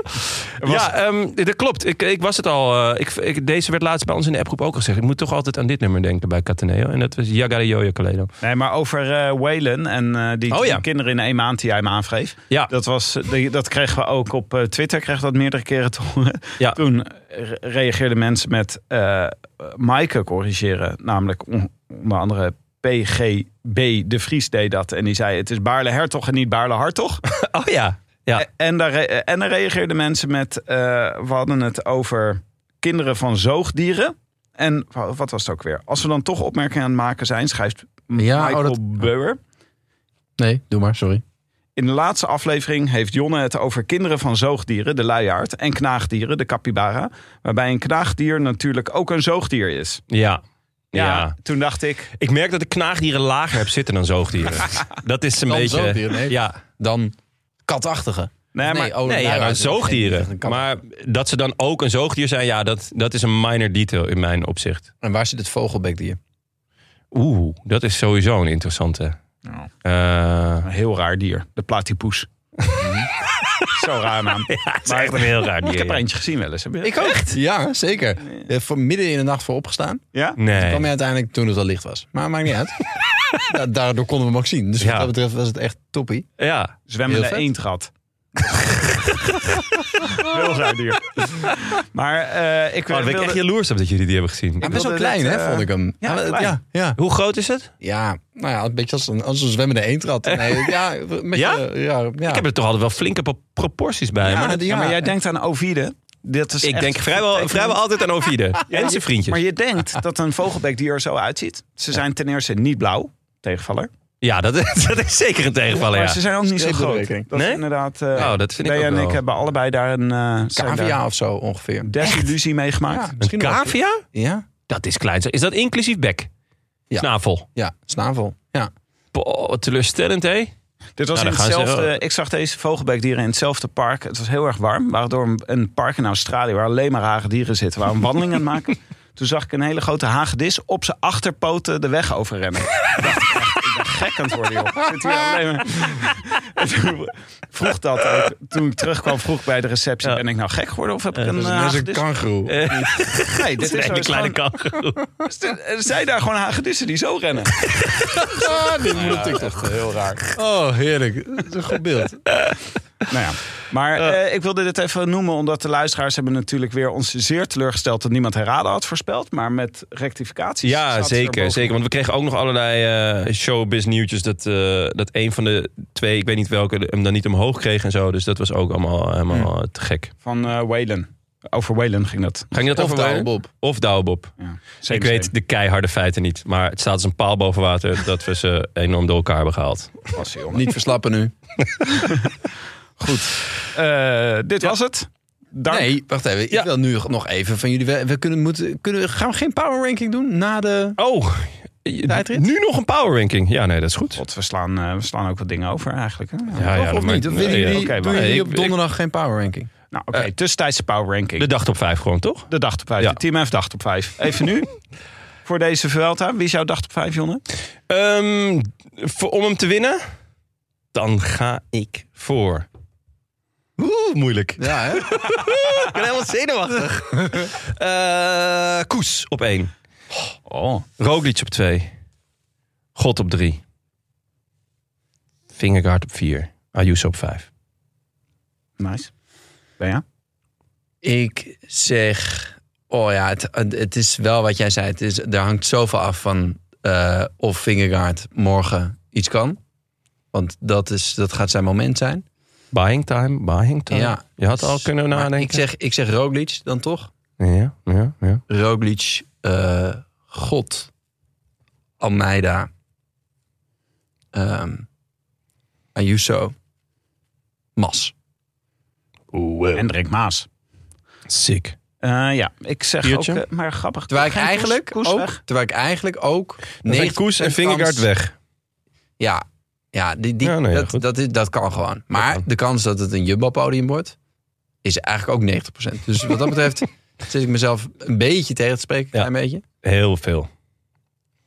S1: Er was-
S3: Ja, ehm, dat klopt. Ik, ik was het al. eh, ik, ik, deze werd laatst bij ons in de appgroep ook gezegd. Ik moet toch altijd aan dit nummer denken bij Cataneo. En dat was Yagara Yoyo Kaledo.
S1: Nee, maar over eh Waylon en eh, die
S3: Oh,
S1: drie
S3: ja.
S1: kinderen in één maand die hij me aanvreef.
S3: Ja.
S1: Dat, was, eh, die- dat kregen we ook op eh, Twitter, kreeg dat meerdere keren te horen.
S3: Ja.
S1: Toen re- reageerden mensen met eh Maaike corrigeren. Namelijk on- onder andere PGB de Vries deed dat. En die zei het is Baarle Hertog en niet Baarle Hartog.
S3: Oh ja. Ja.
S1: E- En, daar, re- en dan reageerden mensen met, eh, we hadden het over kinderen van zoogdieren. En wa- wat was het ook weer? Als we dan toch opmerkingen aan het maken zijn, schrijft
S2: Ja, oh,
S1: Michael
S2: dat-
S1: Bauer.
S2: Nee, doe maar, sorry.
S1: In de laatste aflevering heeft Jonne het over kinderen van zoogdieren, de luiaard, en knaagdieren, de capybara. Waarbij een knaagdier natuurlijk ook een zoogdier is.
S3: Ja. Ja.
S1: toen dacht ik,
S3: Ik merk dat ik knaagdieren lager heb zitten dan zoogdieren. dat is een
S2: Dan
S3: beetje...
S2: zoogdieren, nee.
S3: Ja.
S2: Dan katachtige.
S1: nee, maar
S2: oh,
S3: Nee, ja,
S2: luiaard
S3: maar
S2: is geen-
S3: zoogdieren.
S2: geen kat.
S3: Maar dat ze dan ook een zoogdier zijn, ja, dat, dat is een minor detail in mijn opzicht.
S2: En waar zit het vogelbekdier?
S3: Oeh, dat is sowieso een interessante.
S1: Ja.
S3: Eh,
S1: een heel raar dier, de platypus. Zo raar naam.
S3: Mhm. het is echt een heel raar dier.
S1: Ik heb er
S3: ja.
S1: eentje gezien wel eens. Heb je dat?
S2: ook. Ja, zeker. Eh, Voor midden in de nacht voor opgestaan.
S1: Ja?
S3: Nee.
S2: kwam je uiteindelijk toen het al licht was. Maar maakt niet uit. Da- daardoor konden we hem ook zien. Dus
S3: Ja.
S2: wat dat betreft was het echt toppie.
S3: Ja.
S1: Zwemmende
S2: Heel vet.
S1: eendrat. Heel raar dier. Maar eh, ik
S3: Oh, daar ben ik
S1: wilde-
S3: echt jaloers op dat jullie die hebben gezien.
S2: Maar best wel
S1: wilde net,
S2: klein, hè,
S1: eh,
S2: vond ik hem.
S1: ja,
S2: maar-
S1: klein.
S2: ja, ja.
S3: Hoe groot is het?
S2: Ja, nou ja, een beetje als een, als een zwemmende eendrat. Nee, ja, met
S3: Eh. Ja?
S2: je- ja, ja.
S3: Ik heb er toch altijd wel flinke pro- proporties bij.
S2: Ja,
S3: maar dat-
S2: die-
S1: Ja, maar jij
S2: en-
S1: denkt aan ovide. Dit is
S3: ik
S1: echt
S3: denk vrijwel,
S1: vertekend.
S3: vrijwel altijd aan Ovide. en zijn vriendjes.
S1: Maar je denkt dat een vogelbekdier er zo uitziet. Ze zijn ten eerste niet blauw, tegenvaller.
S3: Ja, dat, dat is zeker een tegenvaller.
S1: Maar
S3: Ja.
S1: ze zijn ook niet zo
S2: Streep door de
S1: groot.
S2: rekening.
S1: Dat is
S3: Nee?
S1: inderdaad... eh
S3: Oh, dat vind ik
S1: Bea
S3: ook
S1: en
S3: wel.
S1: ik hebben allebei daar een... eh, zijn
S2: Cavia
S1: daar
S2: of zo ongeveer.
S1: Desillusie mee
S2: Ja,
S1: gemaakt.
S3: Een
S2: misschien wel.
S3: cavia?
S2: Ja,
S3: Dat is klein. Is dat inclusief bek?
S2: Ja.
S3: Snavel.
S2: ja, snavel. Ja.
S3: Boah, wat teleurstellend, hè?
S1: Dit was
S3: Nou,
S1: in
S3: dan gaan ze-
S1: hetzelfde, ik zag deze vogelbekdieren in hetzelfde park. Het was heel erg warm. We waren door een, een park in Australië waar alleen maar hagedieren zitten. Waar we een wandeling aan het maken. Toen zag ik een hele grote hagedis op zijn achterpoten de weg overrennen. Ik dacht, ik ben gek aan het worden, joh. Ik Zit hier alleen maar. En toen vroeg dat ook. Toen ik terugkwam, vroeg bij de receptie:
S3: Ja.
S1: ben ik nou gek geworden of heb ik
S3: Eh,
S1: een
S2: Dat is
S1: eh,
S2: net een
S1: hagedis?
S2: kangoeroe.
S1: Nee, dit
S3: Dit is
S1: is
S3: een kleine
S1: gewoon-
S3: kangoeroe.
S1: Er zijn daar gewoon hagedissen die zo rennen.
S2: Ah, dit moet ik toch
S1: eh,
S2: heel raar. Oh, heerlijk. Dat is een goed beeld.
S1: Nou ja. Maar eh, ik wilde dit even noemen, omdat de luisteraars hebben natuurlijk weer ons zeer teleurgesteld dat niemand herraden had voorspeld. Maar met rectificaties.
S3: Ja,
S1: zaten ze
S3: zeker,
S1: erboven.
S3: zeker. Want we kregen ook nog allerlei eh, showbiz nieuwtjes. Dat, eh, dat een van de twee, ik weet niet welke, hem dan niet omhoog kreeg en zo. Dus dat was ook allemaal helemaal
S2: Hm.
S3: eh, te gek.
S1: Van eh Waylon. Over Waylon ging dat.
S3: Ging dat
S2: Of
S3: over Wayne?
S2: Douwelbob.
S3: Of Douwelbob.
S1: Ja.
S3: Ik weet de keiharde feiten niet. Maar het staat als een paal boven water dat we ze enorm door elkaar hebben gehaald.
S1: passie, jongen.
S2: Niet verslappen nu.
S1: Eh, dit was het. Dank.
S2: Nee, wacht even. Ik
S3: Ja.
S2: wil nu nog even van jullie. We, we kunnen, moeten, kunnen, we- gaan we geen power ranking doen na de.
S3: Oh,
S2: Tijdrit?
S3: nu nog een power ranking. Ja, nee, dat is goed.
S1: God, we slaan, eh, we slaan ook wat dingen over eigenlijk. Hè? Ja.
S3: Ja, ja,
S2: of
S3: maar-
S2: niet? Of
S3: nee,
S2: willen
S3: ja.
S2: jullie,
S1: oké, maar-
S2: doen jullie
S3: Nee,
S2: op
S3: ik-
S2: donderdag geen power ranking?
S1: Nou, oké.
S3: Eh.
S1: tussentijdse power ranking.
S3: De
S1: De,
S3: dag op vijf gewoon, toch?
S1: dag op vijf.
S3: Ja.
S1: De Team F dag op vijf. Even nu. Voor deze Vuelta. Wie is jouw dag op vijf, Jonne?
S3: Ehm, voor, om hem te winnen, dan ga ik voor. Oeh, moeilijk.
S2: Ja, hè?
S3: Ik ben helemaal zenuwachtig. Eh, Koes op één.
S1: Oh.
S3: Roglic op twee. God op drie. Vingergaard op vier. Ayuso op vijf.
S1: Nice. Ben je?
S2: Ik zeg, oh ja, het, het is wel wat jij zei. Het is, er hangt zoveel af van eh, of Vingegaard morgen iets kan. Want dat, is, dat gaat zijn moment zijn.
S3: Buying time, buying time.
S2: Ja.
S3: Je had al kunnen
S2: Maar
S3: nadenken.
S2: Ik zeg, ik zeg Roglic dan toch.
S3: Ja, ja, ja.
S2: Roglic, eh, God, Almeida, ehm, Ayuso, Mas.
S1: Hendrik Maas.
S3: Sick.
S1: Eh, ja, ik zeg
S3: Biertje?
S1: ook, eh, maar grappig.
S2: Terwijl ik,
S1: Geen koers-
S2: eigenlijk
S1: koers
S2: ook,
S1: weg.
S2: terwijl ik eigenlijk ook...
S3: Dan zijn Koes en
S2: 90%
S3: Vingegaard
S2: kans-
S3: weg.
S2: Ja, Ja, die, die,
S6: Ja, nou ja,
S2: dat,
S6: goed.
S2: dat, is, dat kan gewoon. Maar de kans dat het een Jumbo-podium wordt, is eigenlijk ook 90%. Dus wat dat betreft zit ik mezelf een beetje tegen te spreken. Een
S3: Ja.
S2: klein beetje.
S6: Heel veel.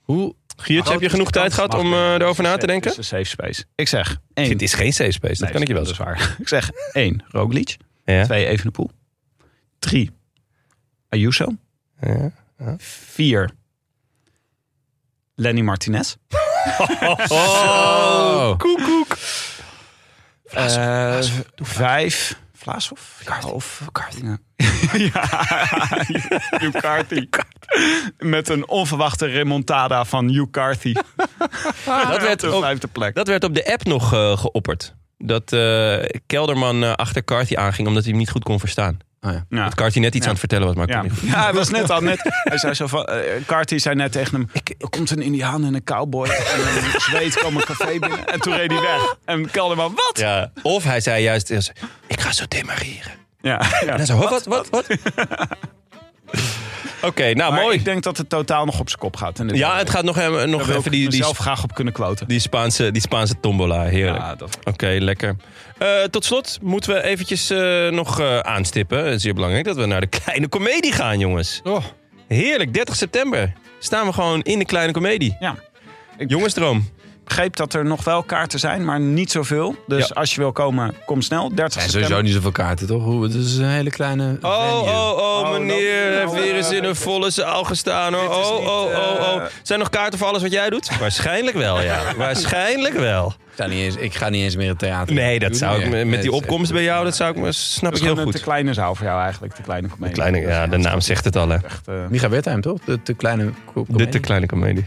S2: Hoe?
S6: Giert,
S2: Groot
S6: heb je
S2: is
S6: genoeg
S2: de
S6: tijd
S2: kans.
S6: gehad
S2: Mag
S6: om
S2: ik.
S6: eh, erover na te denken?
S1: Het is een safe space. Ik zeg één.
S6: Dit is geen safe space, dat
S1: Nee,
S6: kan ik je wel
S1: Dat is
S6: zeggen.
S1: waar. Ik zeg één, Roglic.
S6: Ja.
S1: Twee, Evenepoel. Drie, Ayuso.
S6: Ja.
S1: Vier, Lenny Martinez.
S6: Oh, koek, koek.
S1: Eh, vijf, Vlaashoff. Ja,
S3: Oh,
S1: of Kartingen. ja, Ucarty. Met een onverwachte remontada van Ucarty.
S3: dat, werd
S1: de
S3: ook,
S1: vijfde plek.
S3: dat werd op de app nog eh, geopperd. Dat eh, Kelderman eh, achter Carthy aanging omdat hij hem niet goed kon verstaan.
S2: Oh ja.
S1: Ja.
S3: Dat Carthy net iets
S1: Ja.
S3: aan het vertellen was, maar ik kon
S1: Ja.
S3: niet goed.
S1: ja, hij was net al net. Hij zei zo van. eh, Carty zei net tegen hem: ik, Er komt een Indiaan en een cowboy. En een zweet kwam een café binnen. En toen reed hij weg. En Kelderman, wat?
S3: Ja. Of hij zei juist, hij zei, ik ga zo demareren.
S1: Ja, ja.
S3: En hij zei, "Huh, wat, wat, wat? Oké, nou
S1: Maar
S3: mooi.
S1: ik denk dat het totaal nog op zijn kop gaat. in dit
S3: ja,
S1: jaar.
S3: het gaat nog, eh,
S1: Daar
S3: nog
S1: wil
S3: even
S1: ik
S3: die, die,
S1: mezelf graag op kunnen quoten.
S3: die, Spaanse, die Spaanse tombola. Heerlijk.
S1: Ja, dat,
S3: Oké, lekker. Eh, tot slot moeten we eventjes eh, nog eh, aanstippen. Het is zeer belangrijk dat we naar de Kleine Comedie gaan, jongens.
S2: Oh.
S3: Heerlijk, 30 september. Staan we gewoon in de Kleine Comedie.
S1: ja. Ik-
S3: Jongensdroom.
S1: begreep dat er nog wel kaarten zijn, maar niet zoveel. Dus
S3: Ja.
S1: als je wil komen, kom snel. 30
S2: En
S1: september.
S2: sowieso niet zoveel kaarten, toch? Hoe, het is een hele kleine
S3: Oh,
S2: venue.
S3: oh, oh,
S1: Oh,
S3: meneer.
S1: dat-
S3: heeft weer eens in
S1: eh,
S3: een volle zaal gestaan. Hoor.
S1: is
S3: Oh,
S1: niet,
S3: oh, oh, oh.
S1: eh,
S3: Zijn er nog kaarten voor alles wat jij doet? Waarschijnlijk wel, ja. Waarschijnlijk wel.
S2: Ik, ga niet eens, ik ga niet eens meer het theater.
S3: Nee, dat
S2: Doe
S3: zou
S2: niet
S3: ik,
S2: meer.
S3: me-
S2: Nee,
S3: met die
S2: het is
S3: opkomst bij jou, dat zou ik, me- snap
S1: Dat
S3: ik
S1: is
S3: heel
S1: gewoon een te
S3: goed.
S1: kleine zaal voor jou eigenlijk, de kleine comedie.
S3: Kleine,
S1: Dus
S3: ja, de naam zegt het al, hè.
S1: Echt, eh,
S2: echt- Micha Wertheim, toch? De te kleine...
S3: De te kleine comedie.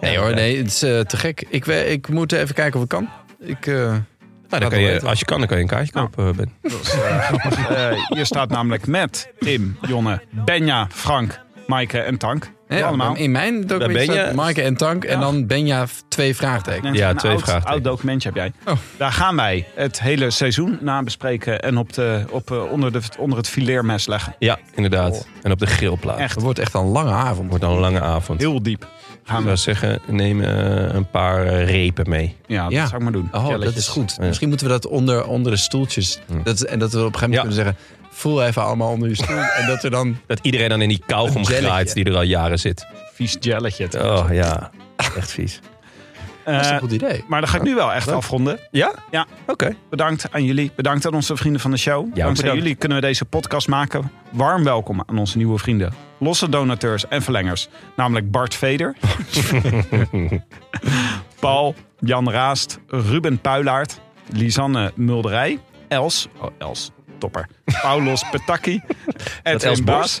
S2: Nee hoor, nee, het is eh, te gek. Ik, we- ik moet even kijken of ik kan. Ik, eh,
S3: Nou,
S2: Laat
S3: dan kan
S2: wel weten.
S3: je,
S2: Ah.
S3: als je kan, dan kan je een kaartje
S1: Nou.
S3: kopen, Ben.
S1: dat is, eh, grappig. Eh, hier staat namelijk met Tim, Jonne, Benja, Frank, Maaike en Tank.
S2: ja,
S1: allemaal.
S2: In mijn document
S3: Benja-
S2: staat Maaike en Tank. En
S1: Ja.
S2: dan Benja v- twee vraagtekens.
S1: Net
S3: Ja,
S1: een
S3: twee
S1: oud,
S3: vraagtekens.
S1: Oud documentje heb jij.
S2: Oh.
S1: Daar gaan wij het hele seizoen nabespreken en op de, op, eh, onder, de, onder het fileermes leggen.
S3: Ja, inderdaad. En op de grillplaat.
S1: Echt.
S2: Het wordt echt een lange avond.
S3: Wordt dan een lange avond.
S1: Heel diep.
S3: Ik
S1: Gaan
S3: zou
S1: we.
S3: zeggen, neem eh, een paar eh, repen mee.
S1: Ja, dat
S2: Ja.
S1: zou ik maar doen.
S2: Oh, dat
S1: Jelletjes.
S2: is goed.
S3: Ja.
S2: Misschien moeten we dat onder, onder de stoeltjes. Dat, en dat we op een gegeven moment kunnen zeggen... Voel even allemaal onder je stoel. en dat er dan...
S3: Dat iedereen dan in die kauwgom
S2: Een jelletje.
S3: graait die er al jaren zit.
S1: Vies jelletje.
S3: Oh ja, echt vies.
S1: Eh,
S2: Dat is een goed idee.
S1: maar dan ga ik nu wel echt afronden.
S3: Ja?
S1: Ja.
S3: Oké.
S1: Bedankt aan jullie. Bedankt aan onze vrienden van de show. Dankzij
S3: bedankt.
S1: jullie kunnen we deze podcast maken. Warm welkom aan onze nieuwe vrienden. Losse donateurs en verlengers. Namelijk Bart Veder. Paul, Jan Raast, Ruben Puilaert. Lisanne Mulderij. Els. Oh, Els. Topper. Paulos Petacchi. Ed
S3: Dat Els
S1: en
S3: Bos.
S1: Baas.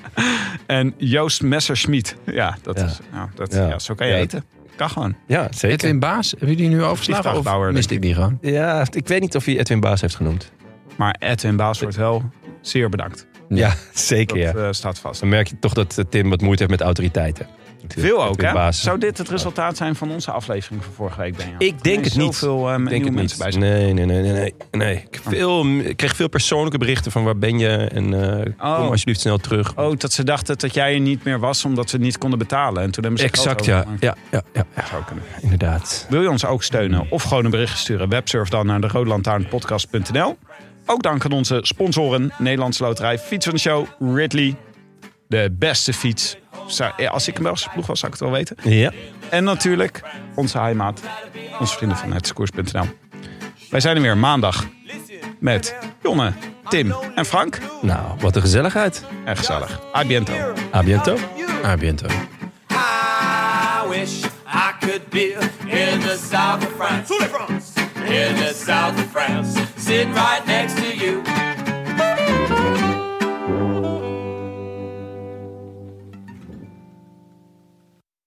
S1: en Joost Messerschmidt. Ja, dat
S3: Ja.
S1: is... Nou, dat,
S3: Ja.
S1: ja. zo kan je
S3: Ja.
S1: eten. Kan gewoon.
S3: Ja, zeker.
S2: Edwin Baas, hebben jullie nu overslagen? Of
S1: Vliegtuigbouwer,
S2: mist ik die gewoon?
S3: Ja, ik weet niet of hij Edwin Baas heeft genoemd.
S1: Maar Ed en Baas wordt wel zeer bedankt.
S3: Ja, zeker
S1: Dat
S3: ja.
S1: eh, staat vast.
S3: Dan merk je toch dat eh, Tim wat moeite heeft met autoriteiten.
S1: Veel ook,
S3: Edwin
S1: hè?
S3: Baas.
S1: Zou dit het resultaat zijn van onze aflevering van vorige week, Benja?
S3: Ik denk het niet.
S1: Zoveel eh,
S3: Ik denk het
S1: mensen
S3: niet.
S1: bij Oh. zijn.
S3: Nee, nee, nee, nee, nee. nee. Ik, heb veel, ik kreeg veel persoonlijke berichten van waar ben je en eh,
S1: Oh.
S3: kom alsjeblieft snel terug.
S1: Oh, dat ze dachten dat jij er niet meer was omdat ze het niet konden betalen. En toen hebben ze
S3: Exact,
S1: geld
S3: ja.
S1: overgemaakt.
S3: Ja, ja, ja, ja,
S1: Dat zou kunnen.
S3: inderdaad.
S1: Wil je ons ook steunen of gewoon een bericht sturen? Websurf dan naar de roodlantaarnpodcast.nl. Ook dank aan onze sponsoren. Nederlandse Loterij, Fiets van de Show, Ridley. De beste fiets. Zou- ja, Als ik een Belgische ploeg was, zou ik het wel weten.
S3: Ja.
S1: En natuurlijk onze heimaat, onze vrienden van hetskoers.nl. Wij zijn er weer maandag met Jonne, Tim en Frank.
S3: Nou, wat een gezelligheid.
S1: En gezellig. Abiento.
S3: A biento.
S2: Ah, Biento.
S7: I wish I could be in the south of France. In the south of France. Sitting right next to you.